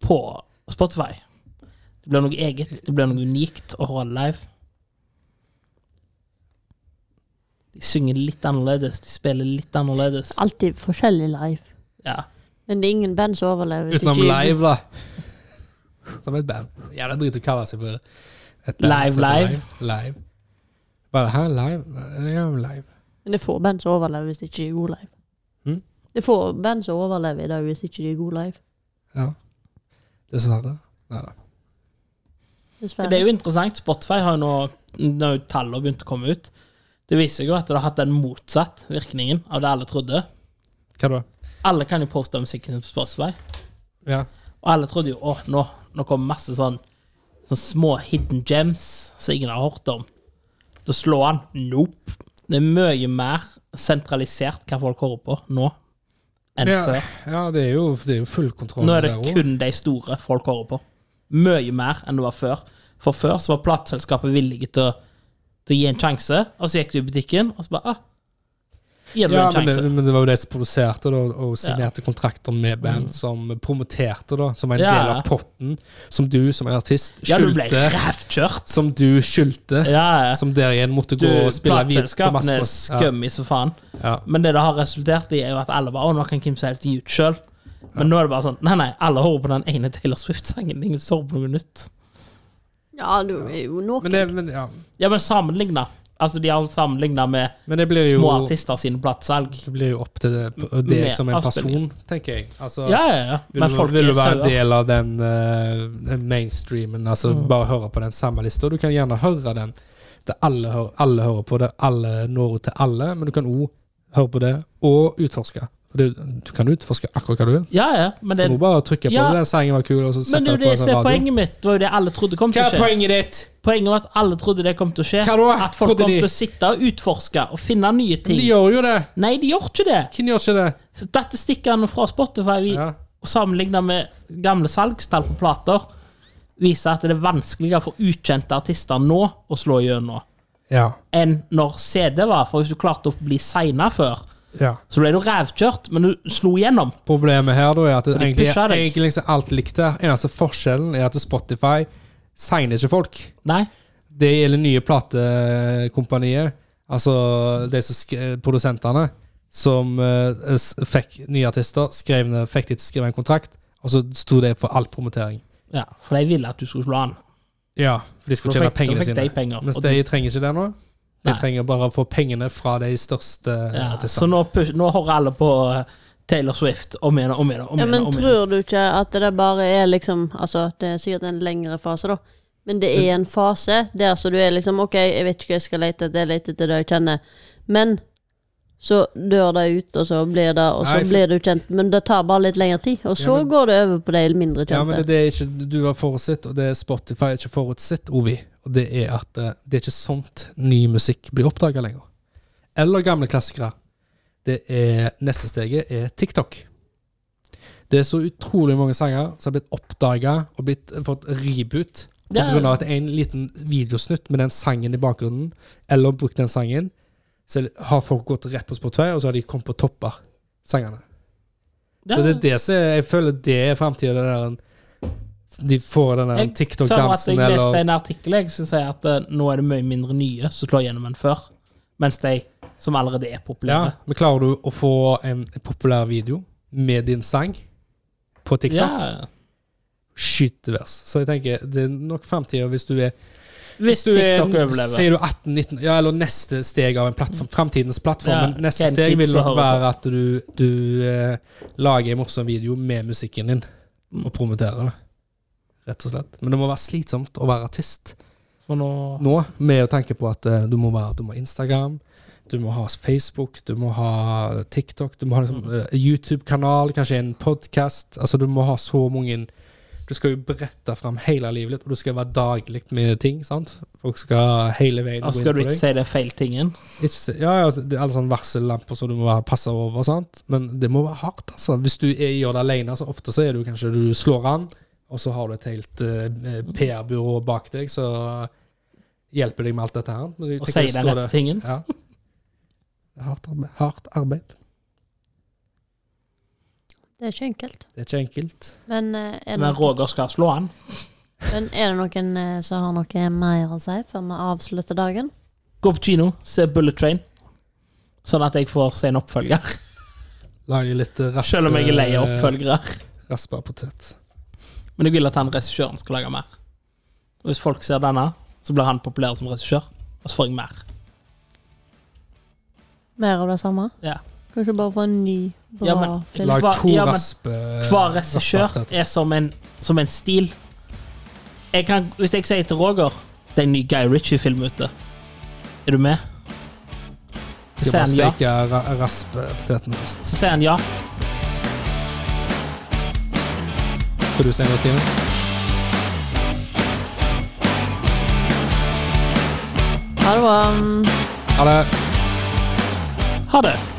S2: på Spotify. Det blir noe eget, det blir noe unikt å høre live. De synger litt annerledes, de spiller litt annerledes.
S3: Alltid forskjellig live.
S2: Ja.
S3: Men det er ingen band som overlever. hvis
S1: utenom
S3: ikke-
S1: live, da. Som et band. Ja, det er drit å kalle seg for et band.
S2: Live,
S1: som heter
S2: live.
S1: Live. Bare her, live. Nei, Ja, live.
S3: Men det er få band som overlever hvis ikke de er gode live.
S1: Mm?
S3: Det er få band som overlever i dag hvis ikke de er gode live.
S1: Ja. Dessverre. Nei da.
S3: Dessverre.
S2: Det er jo interessant. Spotify har jo nå, når tallene begynt å komme ut, det viser jo at det har hatt den motsatt virkningen av det alle trodde.
S1: Hva da?
S2: Alle kan jo poste musikken sin på Spotify.
S1: Ja.
S2: Og alle trodde jo åh, nå, nå kommer masse sånn, sånn små hidden gems som ingen har hørt om. Da slår han. Nope. Det er mye mer sentralisert hva folk hører på nå enn
S1: Ja,
S2: før.
S1: ja det, er jo, det er jo full kontroll
S2: Nå er det
S1: der også.
S2: kun de store folk hører på. Mye mer enn det var før. For før så var plateselskapet villige til å, til å gi en sjanse, og så gikk du i butikken, og så bare ah, Gir du
S1: Ja,
S2: en
S1: men
S2: sjanse.
S1: det, men det var jo de som produserte da, og signerte kontrakter med band som promoterte, da, som var en
S2: Mm. Ja.
S1: del av potten, som du som en artist
S2: Ja, du ble
S1: skyldte.
S2: rævkjørt.
S1: som du skyldte.
S2: Ja, ja.
S1: Som dere igjen måtte
S2: Du,
S1: gå og spille videre på
S2: plateselskapene er
S1: masse- Ja,
S2: skummi som faen.
S1: ja.
S2: Men det det har resultert i, er jo at alle bare Å, nå kan Kim se helt ut sjøl. Men nå er det bare sånn Nei, nei, alle hører på den ene Taylor Swift-sangen. Ingen hører på noe nytt.
S3: Ja, du er jo noe.
S1: Men, det, men, ja.
S2: Ja, men sammenligna. Altså, de har sammenligna med
S1: men det blir jo
S2: små artister sine platesalg.
S1: Det blir jo opp til det, deg
S2: Med
S1: som en person,
S2: avspillingen.
S1: tenker jeg. Altså,
S2: Ja, ja, ja.
S1: vil,
S2: Men
S1: du,
S2: folk
S1: vil
S2: er
S1: du være en
S2: sauer.
S1: del av den eh, den mainstreamen? Altså,
S2: Mm.
S1: Bare høre på den samme lista. Du kan gjerne høre den. Det alle, hører, alle hører på det, alle når ut til alle, men du kan òg høre på det og utforske. For det- Du kan utforske akkurat hva du vil.
S2: Ja, ja. Men det,
S1: Du må bare trykke på
S2: Ja.
S1: den sangen var kul, og så
S2: men det
S1: sette
S2: er jo
S1: den på
S2: det
S1: en
S2: som
S1: sånn
S2: er
S1: radio.
S2: poenget mitt. Det var jo det alle trodde kom til
S1: Hva
S2: å
S1: er
S2: skje.
S1: poenget ditt?
S2: Poenget var at alle trodde det kom til å skje.
S1: Hva da?
S2: At folk
S1: Trodde
S2: kom
S1: de?
S2: til å sitte og utforske og finne nye
S1: Men
S2: ting.
S1: De gjør jo det.
S2: Nei, de gjør ikke det.
S1: Hvem gjør ikke det?
S2: Statistikkene fra Spotify vi,
S1: Ja.
S2: sammenligna med gamle salgstall på plater, viser at det er vanskeligere for ukjente artister nå å slå gjennom
S1: Ja.
S2: enn når CD var. For hvis du klarte å bli signa før,
S1: ja.
S2: så ble du rævkjørt, men du slo gjennom.
S1: Problemet her da er at det
S2: de
S1: egentlig,
S2: pusher deg.
S1: egentlig liksom alt likt der. Eneste forskjellen er at Spotify signer ikke folk.
S2: Nei.
S1: Det gjelder nye platekompanier, altså de som sk produsentene, som eh, s- fikk nye artister, skrev, ned- fikk de til å skrive en kontrakt, og så sto det for all promotering.
S2: Ja, for de ville at du skulle slå an.
S1: Ja, for de skulle
S2: Da
S1: tjene
S2: fikk- da
S1: pengene
S2: fikk
S1: sine.
S2: de penger,
S1: Mens
S2: og
S1: de trenger ikke det nå. De
S2: Nei.
S1: trenger bare å få pengene fra de største
S2: Ja, så
S1: artistene.
S2: nå, pus- nå hører alle på eh, Taylor Swift om igjen og om igjen. og Om
S3: Ja,
S2: igjen,
S3: men
S2: og om igjen.
S3: tror du ikke at det bare er liksom Altså, det er sikkert en lengre fase, da. Men det er en fase der så du er liksom OK, jeg vet ikke hva jeg skal lete etter, jeg leter etter det jeg kjenner. Men så dør det ut, og så blir det Og så
S1: Nei, for-
S3: blir du kjent. Men det tar bare litt lengre tid. Og så
S1: men-
S3: går det over på de mindre kjente.
S1: Ja, men det, det er ikke du har forutsett, og det er Spotify ikke forutsett, Ovi. Og det er at eh, det er ikke sånt ny musikk blir oppdaga lenger. Eller gamle klassikere. Det er, neste steget er TikTok. Det er så utrolig mange sanger som har blitt oppdaga og blitt, eh, fått reboot på
S2: Ja.
S1: grunn av at en liten videosnutt med den sangen i bakgrunnen, eller brukt den sangen, så har folk gått rett på Spotify, og så har de kommet på topper, sangene.
S2: Ja.
S1: Så det er det som er, jeg føler det er framtida. Det der de får den der
S2: Jeg sa at
S1: TikTok-dansen
S2: Jeg
S1: Eh, eller
S2: leste en artikkel jeg, som sier at eh, nå er det mye mindre nye som slår gjennom enn før. Mens de som allerede er
S1: ja,
S2: populære.
S1: Men klarer du å få en populær video med din sang på TikTok?
S2: Ja.
S1: Skytevers. Så jeg tenker, det er nok framtida hvis du er
S2: Hvis
S1: du
S2: TikTok
S1: er,
S2: overlever. Mm.
S1: Sier du 18-19, ja, eller neste steg av en plattform, framtidens plattform.
S2: Ja,
S1: men neste
S2: hvem
S1: steg
S2: kids
S1: vil
S2: som
S1: nok
S2: hører
S1: være at du, du eh, lager en morsom video med musikken din, og promoterer det. Rett og slett. Men det må være slitsomt å være artist.
S2: For nå,
S1: nå, med å tenke på at eh, du må være du må ha Instagram, du må ha Facebook, du må ha TikTok, du må ha
S2: Mm.
S1: liksom, eh, YouTube-kanal, kanskje en podkast. Altså, du må ha så mange Du skal jo berette fram hele livet ditt, og du skal være daglig med ting. sant? Folk skal hele veien
S2: nå skal du ikke si det feil tingen.
S1: Ikke se- ja, ja, altså, det er alle sånne varsellamper som du må være- passe over, sant? men det må være hardt. altså. Hvis du er, gjør det alene, så ofte så er du kanskje du slår an, og så har du et helt eh, PR-byrå bak deg, så hjelper deg med alt dette her. Men jeg
S2: Og
S1: tenker
S2: si
S1: det
S2: den
S1: står
S2: rette
S1: det-
S2: tingen.
S1: Ja. Det er hardt arbeid. hardt arbeid.
S3: det er ikke enkelt.
S1: Det er ikke enkelt.
S3: Men, eh, er,
S2: Men
S3: det noen,
S2: Roger skal slå han.
S3: men er det noen eh, som har noe mer å si før vi avslutter dagen?
S2: Gå på kino, se Bullet Train. Sånn at jeg får se en oppfølger.
S1: Lage litt eh, raspe,
S2: Selv om jeg er lei av oppfølgere.
S1: raspa potet.
S2: Men jeg vil at han regissøren skal lage mer. Og hvis folk ser denne, så blir han populær som regissør. Og så får jeg mer.
S3: Mer av det samme?
S2: Ja.
S3: Kanskje bare få en ny, bra
S2: Ja, men-
S3: film?
S1: Lag
S2: Hva-
S1: to
S2: ja, men
S1: raspe
S2: Hver regissør
S1: raspa potet.
S2: er som en, som en stil. Jeg kan, hvis jeg sier til Roger Det er en ny Guy Ritchie-film ute. Er du med? Så
S1: Skal bare
S2: sier han ja.
S1: steke ra raspepotetene først.
S2: Så sier han ja.
S1: Skal du si noe, Stine?
S3: Ha det bra.
S1: Ha det.
S2: Ha det.